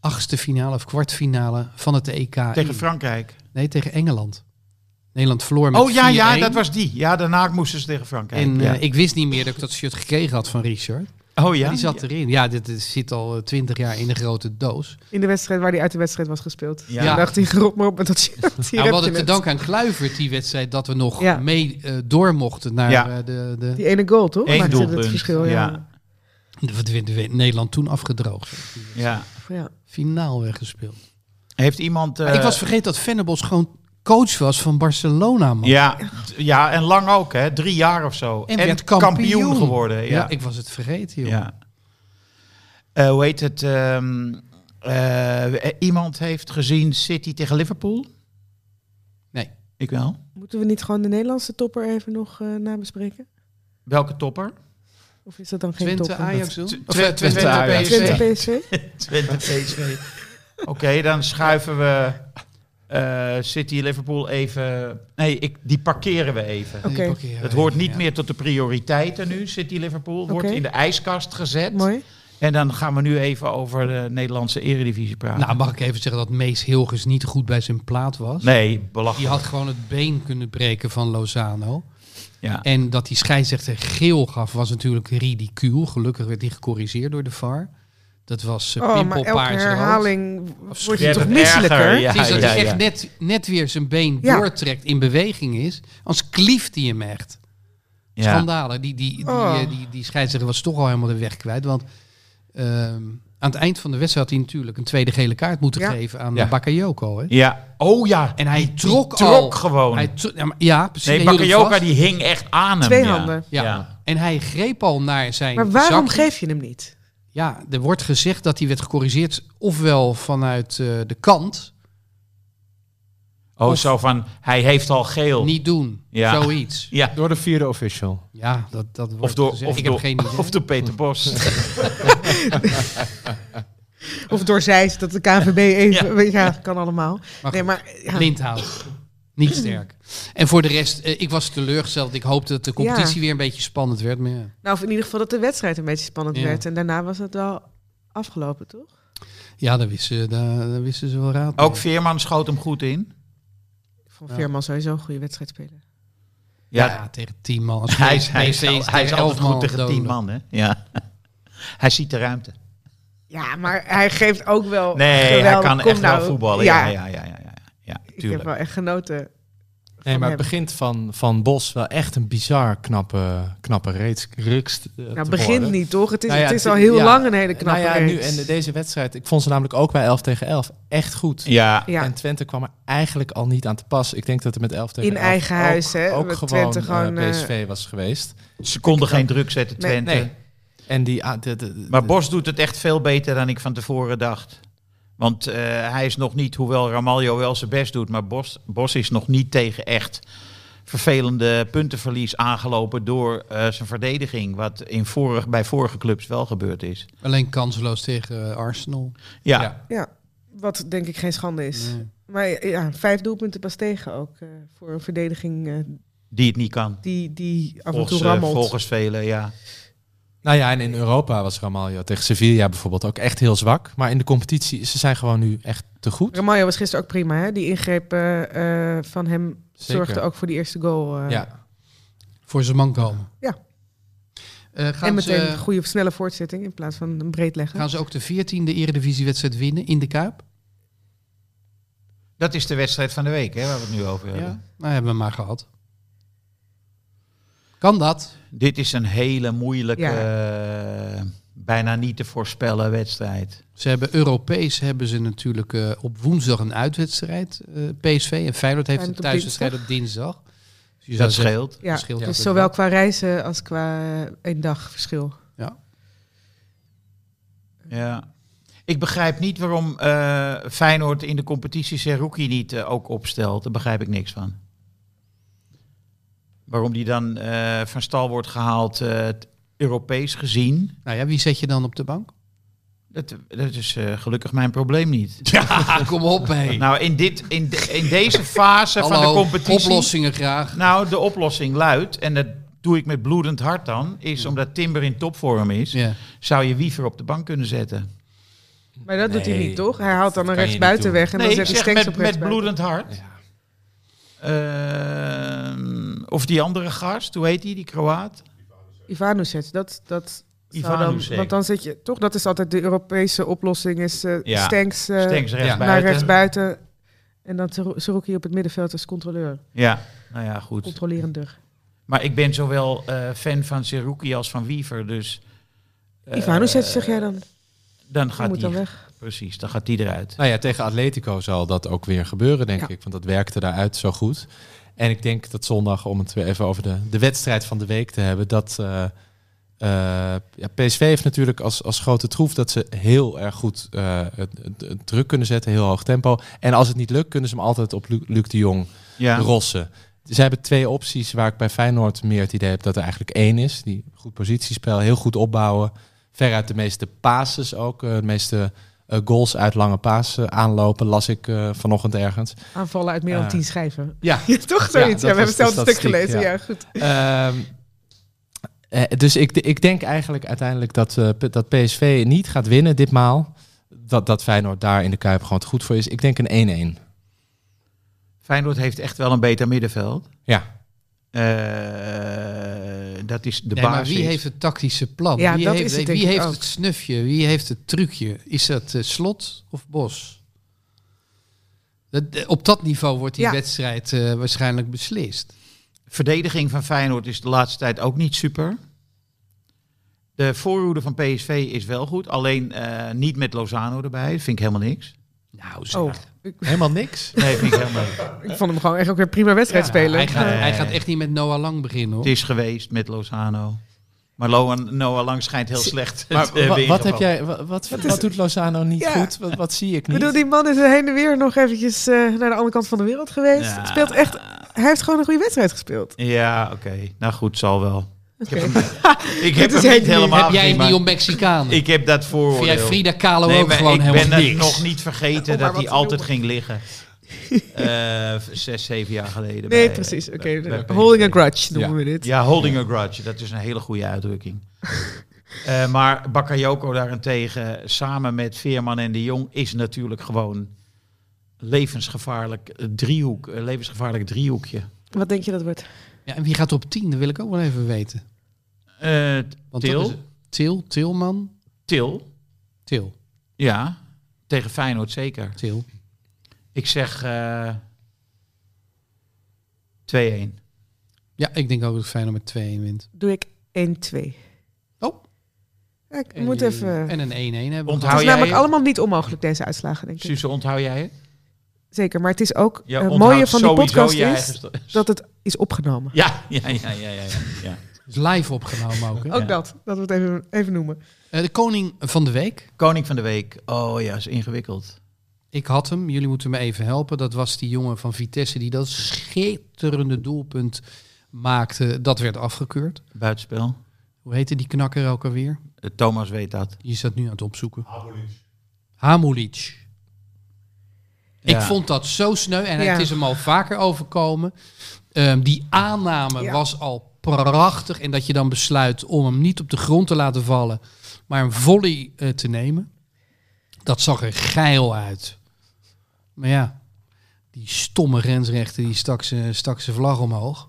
Speaker 3: achtste finale of kwartfinale van het EK.
Speaker 2: Tegen
Speaker 3: in.
Speaker 2: Frankrijk.
Speaker 3: Nee, tegen Engeland. Nederland verloor met
Speaker 2: Oh ja, ja,
Speaker 3: 4-1.
Speaker 2: dat was die. Ja, daarna moesten ze tegen Frankrijk.
Speaker 3: En eh,
Speaker 2: ja.
Speaker 3: ik wist niet meer dat ik dat shirt gekregen had van Richard.
Speaker 2: oh ja?
Speaker 3: die zat erin. Ja, dit, dit zit al eh, twintig jaar in de grote doos. Nou,
Speaker 4: In de wedstrijd waar hij uit de wedstrijd was gespeeld.
Speaker 2: Ja.
Speaker 4: Toen dacht hij, rot maar op met dat shirt. Hier
Speaker 3: Ja, Nou, we
Speaker 4: heb je
Speaker 3: hadden te
Speaker 4: het.
Speaker 3: danken aan Kluivert die wedstrijd dat we nog
Speaker 4: Ja.
Speaker 3: mee eh, door mochten naar
Speaker 2: Ja.
Speaker 3: eh, de, de,
Speaker 4: Die ene goal, toch?
Speaker 2: Eén
Speaker 4: Maakte
Speaker 2: doelpunt.
Speaker 4: Het verschil, ja.
Speaker 2: Ja.
Speaker 3: de, wat werd- werd Nederland toen afgedroogd.
Speaker 2: ja.
Speaker 4: Ja.
Speaker 3: Finaal weggespeeld.
Speaker 2: Heeft iemand...
Speaker 3: Maar ik
Speaker 2: eh,
Speaker 3: was vergeten dat Venables gewoon coach was van Barcelona, man.
Speaker 2: Ja, d- ja, en lang ook, hè? Drie jaar of zo.
Speaker 3: En werd kampioen.
Speaker 2: geworden.
Speaker 3: Ja,
Speaker 2: Ja.
Speaker 3: ik was het vergeten, joh.
Speaker 2: ja. Eh, hoe heet het? ehm, eh, eh, iemand heeft gezien City tegen Liverpool?
Speaker 3: Nee.
Speaker 2: Ik wel.
Speaker 4: Moeten we niet gewoon de Nederlandse topper even nog eh, nabespreken?
Speaker 2: Welke topper?
Speaker 4: Of is dat dan geen
Speaker 3: Twente,
Speaker 4: topper?
Speaker 3: Ajax doen?
Speaker 2: Tw-
Speaker 3: Of,
Speaker 2: Tw-
Speaker 3: eh,
Speaker 2: Twente, Ajax.
Speaker 3: PSV.
Speaker 4: Twente PSV?
Speaker 2: Twente PSV. Oké, dan schuiven we eh, City Liverpool even... Nee, ik, die parkeren we even.
Speaker 4: Oké.
Speaker 3: Die parkeren
Speaker 2: Het hoort
Speaker 3: we,
Speaker 2: niet
Speaker 3: ja.
Speaker 2: meer tot de prioriteiten nu, City Liverpool. Wordt
Speaker 4: Oké.
Speaker 2: in de ijskast gezet.
Speaker 4: Mooi.
Speaker 2: En dan gaan we nu even over de Nederlandse eredivisie praten.
Speaker 3: Nou, mag ik even zeggen dat Mees Hilgers niet goed bij zijn plaat was?
Speaker 2: nee, belachelijk.
Speaker 3: Die had gewoon het been kunnen breken van Lozano.
Speaker 2: ja.
Speaker 3: En dat die scheidsrechter geel gaf was natuurlijk ridicuul. Gelukkig werd die gecorrigeerd door de VAR. Dat was eh,
Speaker 4: Oh, maar elke
Speaker 3: pimpelpaars rood.
Speaker 4: herhaling
Speaker 3: Of
Speaker 4: wordt je
Speaker 3: scherp.
Speaker 4: toch
Speaker 2: Erger,
Speaker 4: misselijker?
Speaker 2: ja,
Speaker 3: Het is dat
Speaker 2: ja,
Speaker 3: hij
Speaker 2: ja.
Speaker 3: echt net, net weer zijn been
Speaker 4: Ja.
Speaker 3: doortrekt in beweging is. Anders klieft hij hem echt.
Speaker 2: Ja.
Speaker 3: Schandalen. Die, die, die,
Speaker 4: Oh.
Speaker 3: eh, die, die scheidsrechter was toch al helemaal de weg kwijt. Want ehm, aan het eind van de wedstrijd had hij natuurlijk een tweede gele kaart moeten
Speaker 4: Ja.
Speaker 3: geven aan
Speaker 6: Ja.
Speaker 3: Bakayoko. Hè?
Speaker 2: Ja. Oh ja.
Speaker 3: En hij
Speaker 2: Die- die
Speaker 3: trok al.
Speaker 2: trok gewoon.
Speaker 3: Hij tro- ja, maar- ja, precies.
Speaker 2: nee,
Speaker 3: Hij hield hem
Speaker 2: Bakayoka
Speaker 3: vast.
Speaker 2: die hing echt aan hem.
Speaker 4: Twee
Speaker 2: ja.
Speaker 4: handen.
Speaker 3: Ja. En hij greep al naar zijn
Speaker 4: Maar waarom
Speaker 3: zak.
Speaker 4: geef je hem niet?
Speaker 3: Ja, er wordt gezegd dat hij werd gecorrigeerd ofwel vanuit eh, de kant
Speaker 2: Oh, zo van, hij heeft al geel.
Speaker 3: Niet doen.
Speaker 2: Ja.
Speaker 3: Zoiets.
Speaker 2: ja.
Speaker 6: Door de vierde official.
Speaker 3: Ja, dat, dat wordt
Speaker 2: Of door,
Speaker 3: gezegd.
Speaker 2: of,
Speaker 3: ik
Speaker 2: door,
Speaker 3: heb geen idee.
Speaker 2: of door Peter Bos.
Speaker 4: Of door zij, dat de KVB even... Ja, kan allemaal.
Speaker 3: Maar
Speaker 4: nee,
Speaker 3: goed.
Speaker 4: maar... Ja.
Speaker 3: Lindhout. Niet sterk. En voor de rest, eh, ik was teleurgesteld. Ik hoopte dat de competitie weer een beetje spannend werd. Maar ja.
Speaker 4: Nou, of in ieder geval dat de wedstrijd een beetje spannend
Speaker 3: Ja.
Speaker 4: werd. En daarna was het wel afgelopen, toch?
Speaker 3: Ja, daar wisten, daar, daar wisten ze wel raad. mee.
Speaker 2: Ook Veerman schoot hem goed in.
Speaker 4: Ik vond
Speaker 3: Ja.
Speaker 4: Veerman sowieso een goede wedstrijd spelen.
Speaker 3: ja.
Speaker 2: Ja,
Speaker 3: tegen tien man. Als
Speaker 2: hij is, hij is,
Speaker 3: PSV
Speaker 2: al- hij is
Speaker 3: tegen
Speaker 2: altijd
Speaker 3: elf
Speaker 2: goed tegen
Speaker 3: doden.
Speaker 2: tien man, hè? Ja. hij ziet de ruimte.
Speaker 4: Ja, maar hij geeft ook wel
Speaker 2: Nee, hij
Speaker 4: geweldig-
Speaker 2: kan
Speaker 4: Kom
Speaker 2: echt
Speaker 4: nou.
Speaker 2: wel voetballen. Ja, ja, ja, ja. ja, ja.
Speaker 4: Ik heb
Speaker 2: tuurlijk.
Speaker 4: wel echt genoten.
Speaker 6: Nee,
Speaker 4: Van
Speaker 6: maar
Speaker 4: hem.
Speaker 6: het begint van, van Bos wel echt een bizar knappe, knappe reeks. Rukst, eh,
Speaker 4: Nou,
Speaker 6: te
Speaker 4: het begint
Speaker 6: worden.
Speaker 4: niet, toch? Het is,
Speaker 6: Nou ja,
Speaker 4: het is
Speaker 6: het-
Speaker 4: al heel
Speaker 6: ja.
Speaker 4: lang een hele knappe
Speaker 6: nou ja, nu,
Speaker 4: reeks.
Speaker 6: en deze wedstrijd, ik vond ze namelijk ook bij 11 tegen 11 echt goed.
Speaker 2: Ja,
Speaker 4: Ja.
Speaker 6: En Twente kwam er eigenlijk al niet aan te pas. Ik denk dat het met 11 tegen
Speaker 4: In
Speaker 6: 11
Speaker 4: eigen
Speaker 6: ook,
Speaker 4: huis, hè,
Speaker 6: ook
Speaker 4: met
Speaker 6: gewoon,
Speaker 4: Twente
Speaker 6: eh,
Speaker 4: gewoon, eh,
Speaker 6: PSV was geweest.
Speaker 2: ze konden geen druk zetten,
Speaker 4: Nee.
Speaker 2: Twente.
Speaker 6: Nee. En die... ah, de- de- de-
Speaker 2: Maar Bos doet het echt veel beter dan ik van tevoren dacht. Want eh, hij is nog niet, hoewel Ramaljo wel zijn best doet, maar Bos, Bos is nog niet tegen echt vervelende puntenverlies aangelopen door eh, zijn verdediging. Wat in vorig, bij vorige clubs wel gebeurd is.
Speaker 3: Alleen kansloos tegen eh, Arsenal.
Speaker 2: Ja,
Speaker 6: Ja.
Speaker 4: Ja, wat denk ik geen schande is.
Speaker 3: Nee.
Speaker 4: Maar ja, vijf doelpunten pas tegen ook. eh, voor een verdediging eh,
Speaker 2: die het niet kan.
Speaker 4: die, die af en
Speaker 2: Volgens,
Speaker 4: toe
Speaker 2: eh,
Speaker 4: rammelt.
Speaker 2: volgens velen, ja.
Speaker 6: Nou ja, en in Europa was Ramaljo tegen Sevilla bijvoorbeeld ook echt heel zwak. Maar in de competitie, ze zijn gewoon nu echt te goed.
Speaker 4: Ramaljo was gisteren ook prima, hè? Die ingreep eh, eh, van hem
Speaker 6: Zeker.
Speaker 4: zorgde ook voor die eerste goal. eh.
Speaker 6: Ja,
Speaker 3: Voor zijn man komen.
Speaker 4: Ja.
Speaker 3: Eh, gaan,
Speaker 4: En meteen
Speaker 3: ze, eh,
Speaker 4: een goede snelle voortzetting in plaats van een breed leggen.
Speaker 3: gaan ze ook de 14e eredivisiewedstrijd winnen in de Kuip?
Speaker 2: Dat is de wedstrijd van de week, hè, waar we het nu over hebben.
Speaker 3: Nou, hebben we maar gehad. Kan dat?
Speaker 2: Dit is een hele moeilijke, eh, bijna niet te voorspellen wedstrijd.
Speaker 3: Ze hebben Europees hebben ze natuurlijk eh, op woensdag een uitwedstrijd. eh, PSV en Feyenoord heeft
Speaker 4: Feyenoord
Speaker 3: een
Speaker 4: op
Speaker 3: thuiswedstrijd op dinsdag. Dus je zou
Speaker 2: Dat
Speaker 3: zeggen,
Speaker 2: scheelt.
Speaker 4: Ja,
Speaker 3: dat scheelt
Speaker 4: dus
Speaker 3: natuurlijk
Speaker 4: zowel
Speaker 3: wel.
Speaker 4: qua reizen als qua eh, één dag verschil.
Speaker 2: Ja. Ik begrijp niet waarom eh, Feyenoord in de competitie Seruki niet eh, ook opstelt. Daar begrijp ik niks van. Waarom die dan eh, van stal wordt gehaald, eh, t- Europees gezien.
Speaker 3: Nou ja, wie zet je dan op de bank?
Speaker 2: Dat, dat is eh, gelukkig mijn probleem niet. Ah,
Speaker 3: Ja, kom op hé.
Speaker 2: Nou, in, dit, in, de- in deze fase van de
Speaker 3: Hallo,
Speaker 2: competitie...
Speaker 3: oplossingen graag.
Speaker 2: Nou, de oplossing luidt, en dat doe ik met bloedend hart dan, is omdat Timber in topvorm is,
Speaker 3: Ja.
Speaker 2: zou je Wiever op de bank kunnen zetten.
Speaker 4: Maar dat doet hij
Speaker 6: Nee,
Speaker 4: niet, toch? Hij haalt dan
Speaker 6: dat
Speaker 4: een
Speaker 6: kan je
Speaker 4: rechtsbuiten
Speaker 6: niet doen.
Speaker 4: weg en
Speaker 2: nee,
Speaker 4: dan
Speaker 2: ik
Speaker 4: zet hij
Speaker 2: zeg
Speaker 4: Stenks
Speaker 2: met,
Speaker 4: op
Speaker 2: met
Speaker 4: rechtsbuiten.
Speaker 2: bloedend hart. Ehm, of die andere gast, hoe heet die, die Kroaat?
Speaker 4: Ivanuset, dat, dat zou dan...
Speaker 2: Ivanušec.
Speaker 4: Want dan zit je... Toch, dat is altijd de Europese oplossing, is eh
Speaker 2: Ja.
Speaker 4: Stenks, eh,
Speaker 2: Stenks
Speaker 4: naar
Speaker 2: rechtsbuiten.
Speaker 4: rechtsbuiten. En dan Seru- Seruki op het middenveld als controleur.
Speaker 2: Ja, nou ja, goed.
Speaker 4: Controlerender.
Speaker 2: Maar ik ben zowel eh, fan van Seruki als van Wiever, dus... eh,
Speaker 4: Ivanuset, zeg jij dan?
Speaker 2: Dan
Speaker 4: Die
Speaker 2: gaat
Speaker 4: moet
Speaker 2: die,
Speaker 4: dan weg.
Speaker 2: precies, dan gaat die eruit.
Speaker 6: nou ja, tegen Atletico zal dat ook weer gebeuren, denk
Speaker 4: Ja.
Speaker 6: ik. Want dat werkte daaruit zo goed. En ik denk dat zondag, om het weer even over de, de wedstrijd van de week te hebben, dat... eh, eh, ja, PSV heeft natuurlijk als, als grote troef dat ze heel erg goed eh, het, het- het druk kunnen zetten, heel hoog tempo. En als het niet lukt, kunnen ze hem altijd op Lu- Luc de Jong
Speaker 2: Ja.
Speaker 6: rossen. Ze hebben twee opties waar ik bij Feyenoord meer het idee heb dat er eigenlijk één is. Die goed positiespel, heel goed opbouwen. Veruit de meeste passes ook. eh, de meeste eh, goals uit lange pasen aanlopen, las ik eh, vanochtend ergens.
Speaker 4: Aanvallen uit meer dan
Speaker 6: Eh,
Speaker 4: tien schijven.
Speaker 6: Ja,
Speaker 4: Ja, toch zoiets.
Speaker 6: Ja,
Speaker 4: Ja,
Speaker 6: dat
Speaker 4: we hebben
Speaker 6: was de
Speaker 4: hetzelfde stuk
Speaker 6: statistiek,
Speaker 4: gelezen.
Speaker 6: ja.
Speaker 4: Ja, goed.
Speaker 6: Ehm, eh, dus ik, ik denk eigenlijk uiteindelijk dat, eh, P- dat PSV niet gaat winnen ditmaal. Dat, dat Feyenoord daar in de Kuip gewoon te goed voor is. Ik denk een 1-1.
Speaker 2: Feyenoord heeft echt wel een beter middenveld.
Speaker 6: Ja.
Speaker 2: Eh, dat is de
Speaker 3: Nee, maar
Speaker 2: basis.
Speaker 3: wie heeft het tactische plan?
Speaker 4: Ja,
Speaker 3: wie
Speaker 4: dat
Speaker 3: heeft,
Speaker 4: is het, denk
Speaker 3: wie
Speaker 4: ik
Speaker 3: heeft
Speaker 4: ook.
Speaker 3: het snufje? Wie heeft het trucje? Is dat eh, slot of bos? Dat- eh, op dat niveau wordt die
Speaker 4: Ja.
Speaker 3: wedstrijd eh, waarschijnlijk beslist.
Speaker 2: Verdediging van Feyenoord is de laatste tijd ook niet super. De voorhoede van PSV is wel goed, alleen eh, niet met Lozano erbij. Dat vind ik helemaal niks.
Speaker 3: Nou, zeg.
Speaker 4: Oh, ik,
Speaker 6: Helemaal niks.
Speaker 2: Nee, vind ik helemaal niks.
Speaker 4: ik vond hem gewoon echt ook weer prima wedstrijd
Speaker 3: Ja,
Speaker 4: spelen.
Speaker 3: Hij gaat,
Speaker 2: Nee.
Speaker 3: hij gaat echt niet met Noah Lang beginnen hoor.
Speaker 2: Het is geweest met Lozano. Maar Loan, Noah Lang schijnt heel slecht.
Speaker 6: Maar
Speaker 2: te
Speaker 6: wa-
Speaker 2: hebben
Speaker 6: wat, heb
Speaker 2: ingevallen.
Speaker 6: jij, wa- wat, wat, doet Lozano niet
Speaker 4: Ja.
Speaker 6: goed? Wat, wat zie ik
Speaker 4: Ik
Speaker 6: niet?
Speaker 4: bedoel, die man is heen en weer nog eventjes eh, naar de andere kant van de wereld geweest.
Speaker 2: Ja.
Speaker 4: Speelt echt, hij heeft gewoon een goede wedstrijd gespeeld.
Speaker 2: Ja, oké. Nou goed, zal wel. Ik heb
Speaker 4: Oké.
Speaker 2: hem, ik heb
Speaker 4: Dit
Speaker 2: hem
Speaker 4: is heel
Speaker 2: niet
Speaker 4: nieuw.
Speaker 2: helemaal
Speaker 3: Heb jij
Speaker 2: gezien,
Speaker 3: een
Speaker 2: maar
Speaker 3: Dion Mexicaan?
Speaker 2: Ik heb dat
Speaker 3: Vind jij
Speaker 2: vooroordeel.
Speaker 3: Frida Kahlo
Speaker 2: Nee,
Speaker 3: ook
Speaker 2: maar
Speaker 3: gewoon
Speaker 2: ik ben
Speaker 3: helemaal
Speaker 2: het
Speaker 3: niks?
Speaker 2: nog niet vergeten
Speaker 4: Om maar
Speaker 2: dat
Speaker 4: wat
Speaker 2: hij
Speaker 4: te
Speaker 2: altijd
Speaker 4: noemen.
Speaker 2: ging liggen. Eh, v- zes, zeven jaar geleden.
Speaker 4: Nee,
Speaker 2: bij-
Speaker 4: precies. Oké,
Speaker 2: bij- bij PSV.
Speaker 4: holding a grudge noemen
Speaker 6: Ja.
Speaker 4: we dit.
Speaker 2: Ja, holding a grudge. Dat is een hele goede uitdrukking. Eh, maar Bakayoko daarentegen, samen met Veerman en de Jong, is natuurlijk gewoon levensgevaarlijk eh, driehoek. Een levensgevaarlijk driehoekje.
Speaker 4: Wat denk je dat wordt?
Speaker 3: Ja, en wie gaat op 10? Dat wil ik ook wel even weten.
Speaker 2: Eh,
Speaker 3: Want
Speaker 2: Til?
Speaker 3: dat is- Til, Tilman,
Speaker 2: Til,
Speaker 3: Til,
Speaker 2: ja, tegen Feyenoord zeker.
Speaker 3: Til.
Speaker 2: Ik zeg eh 2-1.
Speaker 3: Ja, ik denk ook dat Feyenoord met 2 wint.
Speaker 4: Doe ik 1-2.
Speaker 3: Oh.
Speaker 4: Ja, ik
Speaker 3: En
Speaker 4: moet
Speaker 3: die-
Speaker 4: even...
Speaker 3: En een 1-1 hebben.
Speaker 2: Onthoud
Speaker 4: het
Speaker 3: we
Speaker 2: jij
Speaker 4: is
Speaker 3: gehad.
Speaker 4: namelijk
Speaker 2: het?
Speaker 4: allemaal niet onmogelijk, deze uitslagen, denk ik.
Speaker 2: Suze, onthoud jij het?
Speaker 4: Zeker, maar het is ook...
Speaker 2: Ja,
Speaker 4: eh, het
Speaker 2: onthoud
Speaker 4: mooie van die
Speaker 2: sowieso
Speaker 4: podcast
Speaker 2: je
Speaker 4: is
Speaker 2: eigen sto-
Speaker 4: dat het is opgenomen.
Speaker 2: Ja, ja, ja, ja, ja. ja, ja.
Speaker 3: Het is live opgenomen ook. Hè?
Speaker 4: Ook
Speaker 2: Ja.
Speaker 4: dat, dat we het even, even noemen.
Speaker 3: Eh, de koning van de week.
Speaker 2: Koning van de Week. Oh ja, is ingewikkeld.
Speaker 3: Ik had hem. Jullie moeten me even helpen. Dat was die jongen van Vitesse die dat schitterende doelpunt maakte. Dat werd afgekeurd.
Speaker 2: Buitenspel.
Speaker 3: Hoe heette die knakker ook alweer?
Speaker 2: Eh, Thomas weet dat.
Speaker 3: Die is dat nu aan het opzoeken. Hamulic. Ik
Speaker 2: Ja.
Speaker 3: vond dat zo sneu en
Speaker 4: Ja.
Speaker 3: het is hem al vaker overkomen. Ehm, die aanname
Speaker 4: Ja.
Speaker 3: was al prachtig. En dat je dan besluit om hem niet op de grond te laten vallen, maar een volley eh, te nemen. Dat zag er geil uit. Maar ja, die stomme grensrechter die stak zijn stak zijn vlag omhoog.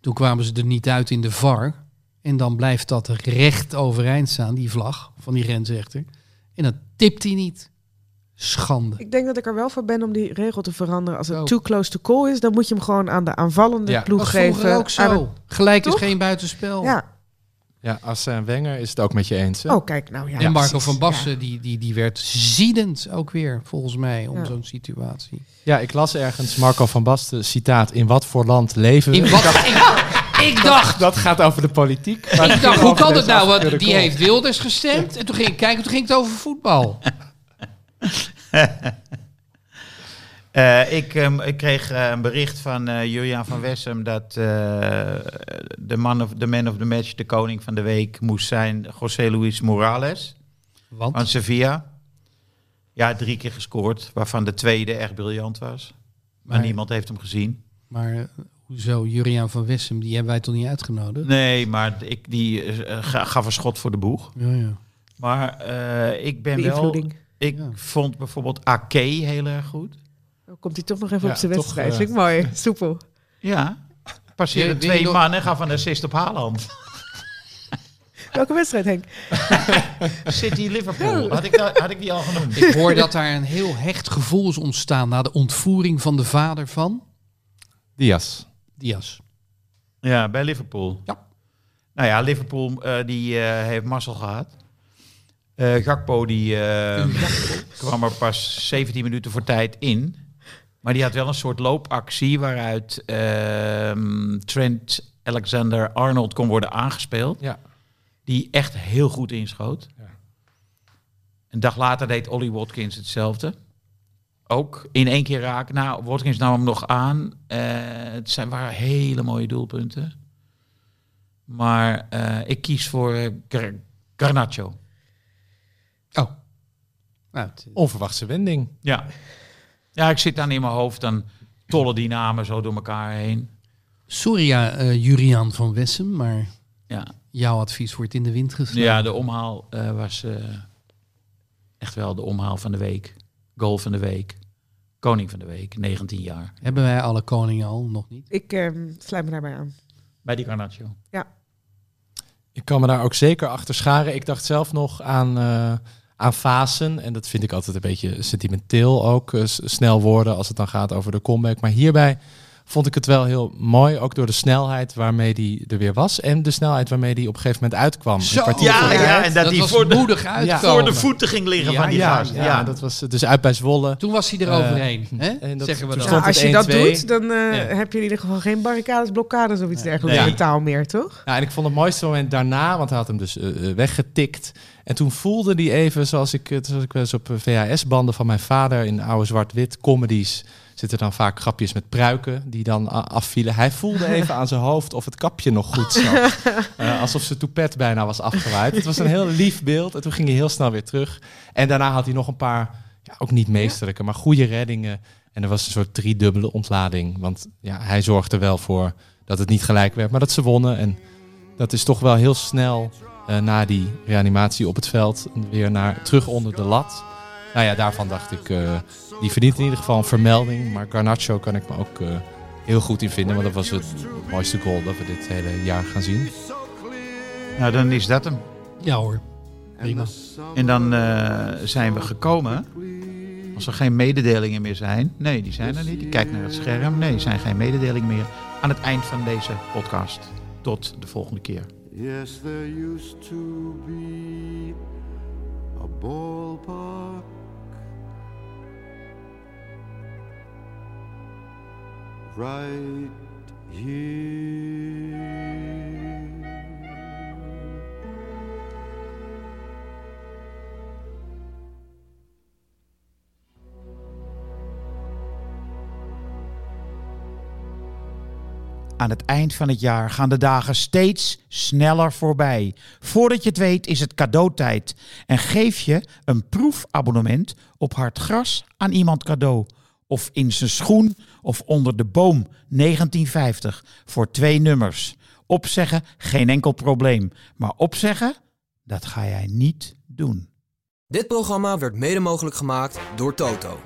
Speaker 3: Toen kwamen ze er niet uit in de VAR. En dan blijft dat recht overeind staan, die vlag van die grensrechter. En dan tipt hij niet. Schande.
Speaker 4: Ik denk dat ik er wel voor ben om die regel te veranderen. Als het
Speaker 3: Ook.
Speaker 4: too close to call is, dan moet je hem gewoon aan de aanvallende
Speaker 6: Ja.
Speaker 4: ploeg
Speaker 3: was vroeger
Speaker 4: geven.
Speaker 3: Oh, ook
Speaker 4: aan
Speaker 3: zo.
Speaker 4: het-
Speaker 3: Gelijk is
Speaker 4: Toch?
Speaker 3: geen buitenspel.
Speaker 4: ja.
Speaker 6: Ja, Arsène Wenger is het ook met je eens. Hè?
Speaker 4: Oh, kijk nou. Ja,
Speaker 3: en Marco
Speaker 4: precies.
Speaker 3: van Basten,
Speaker 4: Ja.
Speaker 3: die, die, die werd ziedend ook weer, volgens mij, om
Speaker 4: Ja.
Speaker 3: zo'n situatie.
Speaker 6: Ja, ik las ergens Marco van Basten citaat: In wat voor land leven we?
Speaker 3: In wat, ik, ik dacht,
Speaker 6: Dat gaat over de politiek. maar
Speaker 3: ik
Speaker 6: ging
Speaker 3: dacht, hoe
Speaker 6: over
Speaker 3: kan dat
Speaker 6: deze
Speaker 3: nou? Want
Speaker 6: afgekeurde
Speaker 3: die
Speaker 6: goal.
Speaker 3: heeft Wilders gestemd. En toen ging ik kijken, toen ging het over voetbal.
Speaker 2: Eh, ik, ehm, ik kreeg eh, een bericht van eh, Julian van Wessem dat eh, de man of, de man of the match, de koning van de week, moest zijn José Luis Morales van
Speaker 3: Want,
Speaker 2: Sevilla. Ja, drie keer gescoord, waarvan de tweede echt briljant was. Maar
Speaker 3: Maar-
Speaker 2: niemand heeft hem gezien.
Speaker 3: maar eh, hoezo, Juriaan van Wessem, die hebben wij toch niet uitgenodigd?
Speaker 2: Nee, maar ik, die eh, ga- gaf een schot voor de boeg.
Speaker 3: Ja, ja.
Speaker 2: Maar eh, ik ben wel...
Speaker 4: Beïnvloeding.
Speaker 2: Ik
Speaker 3: Ja.
Speaker 2: vond bijvoorbeeld Ake heel erg goed.
Speaker 4: Dan komt hij toch nog even
Speaker 6: Ja,
Speaker 4: op zijn
Speaker 6: toch,
Speaker 4: wedstrijd.
Speaker 6: eh,
Speaker 4: Vind ik mooi. Soepel.
Speaker 2: Ja, passeerde
Speaker 3: Die- die
Speaker 2: twee
Speaker 3: nog-
Speaker 2: man en gaf een assist op Haaland.
Speaker 4: Welke wedstrijd, Henk?
Speaker 2: City Liverpool. Had ik, dat- had ik die al genoemd?
Speaker 3: Ik hoor dat daar een heel hecht gevoel is ontstaan na de ontvoering van de vader van
Speaker 6: Diaz.
Speaker 3: Diaz.
Speaker 2: Ja, bij Liverpool.
Speaker 3: Ja.
Speaker 2: Nou ja, Liverpool eh, die eh, heeft mazzel gehad. Eh, Gakpo die eh, kwam er pas 17 minuten voor tijd in. Maar die had wel een soort loopactie waaruit ehm, Trent Alexander-Arnold kon worden aangespeeld.
Speaker 6: Ja.
Speaker 2: Die echt heel goed inschoot.
Speaker 6: Ja.
Speaker 2: Een dag later deed Ollie Watkins hetzelfde. Ook in één keer raak. Nou, Watkins nam hem nog aan. Eh, het zijn, waren hele mooie doelpunten. Maar eh, ik kies voor eh, Gar- Garnacho.
Speaker 3: Oh. Nou, het-
Speaker 6: Onverwachte wending.
Speaker 2: Ja. Ja, ik zit dan in mijn hoofd. Dan tollen die namen zo door elkaar heen.
Speaker 3: sorry, ja, eh, Juriaan van Wessem, maar
Speaker 2: Ja,
Speaker 3: jouw advies wordt in de wind geslagen.
Speaker 2: ja de omhaal eh, was eh, echt wel de omhaal van de week. Goal van de week. Koning van de week, 19 jaar.
Speaker 3: Hebben wij alle koningen al? Nog niet.
Speaker 4: Ik ehm, sluit me daarbij aan.
Speaker 2: Bij die Garnacho.
Speaker 6: Ik kan me daar ook zeker achter scharen. Ik dacht zelf nog aan, eh aan fasen. En dat vind ik altijd een beetje sentimenteel ook. eh, s- snel worden als het dan gaat over de comeback. Maar hierbij vond ik het wel heel mooi. Ook door de snelheid waarmee die er weer was. En de snelheid waarmee die op een gegeven moment uitkwam.
Speaker 3: Zo,
Speaker 6: Een kwartier
Speaker 2: Ja,
Speaker 6: voor-
Speaker 2: ja, en dat,
Speaker 3: dat
Speaker 2: hij
Speaker 3: was
Speaker 2: voor de,
Speaker 3: moedig uitkomen.
Speaker 2: voor de voeten ging liggen
Speaker 6: ja,
Speaker 2: van die
Speaker 6: ja,
Speaker 2: gasten.
Speaker 6: ja,
Speaker 2: Ja,
Speaker 6: dat was dus uit bij Zwolle.
Speaker 3: Toen was hij er overheen,
Speaker 6: Eh,
Speaker 3: hè?
Speaker 6: en dat-
Speaker 3: zeggen we
Speaker 6: toen
Speaker 3: dan.
Speaker 6: stond-
Speaker 4: als je
Speaker 6: het
Speaker 4: dat
Speaker 6: 1-2.
Speaker 4: doet, dan eh,
Speaker 6: Ja.
Speaker 4: heb je in ieder geval geen barricades, blokkades of iets dergelijks
Speaker 2: Nee.
Speaker 4: in taal meer, toch?
Speaker 6: Ja, en ik vond het mooiste moment daarna, want hij had hem dus eh, eh, weggetikt. En toen voelde hij even, zoals ik, het- zoals ik wel eens op eh, VHS-banden van mijn vader in oude zwart-wit comedies zitten dan vaak grapjes met pruiken die dan a- afvielen. Hij voelde even aan zijn hoofd of het kapje nog goed zat. Eh, alsof zijn toepet bijna was afgewaaid. Het was een heel lief beeld en toen ging hij heel snel weer terug. En daarna had hij nog een paar, ja, ook niet meesterlijke, maar goede reddingen. En er was een soort driedubbele ontlading. Want ja, hij zorgde wel voor dat het niet gelijk werd, maar dat ze wonnen. En dat is toch wel heel snel eh, na die reanimatie op het veld weer naar, terug onder de lat. Nou ja, daarvan dacht ik, eh, die verdient in ieder geval een vermelding. Maar Garnacho kan ik me ook eh, heel goed in vinden, want dat was het mooiste goal dat we dit hele jaar gaan zien.
Speaker 2: Nou, dan is dat hem.
Speaker 3: Ja hoor. Prima.
Speaker 5: Prima.
Speaker 2: En dan eh, zijn we gekomen. Als er geen mededelingen meer zijn. Nee, die zijn er niet. Ik kijk naar het scherm. Nee, er zijn geen mededelingen meer. Aan het eind van deze podcast. Tot de volgende keer.
Speaker 5: Yes, there used to be a ballpark right here.
Speaker 2: Aan het eind van het jaar gaan de dagen steeds sneller voorbij. Voordat je het weet is het cadeautijd. En geef je een proefabonnement op hard gras aan iemand cadeau. Of in zijn schoen of onder de boom 1950 voor twee nummers. Opzeggen, geen enkel probleem. Maar opzeggen, dat ga jij niet doen.
Speaker 1: Dit programma werd mede mogelijk gemaakt door Toto.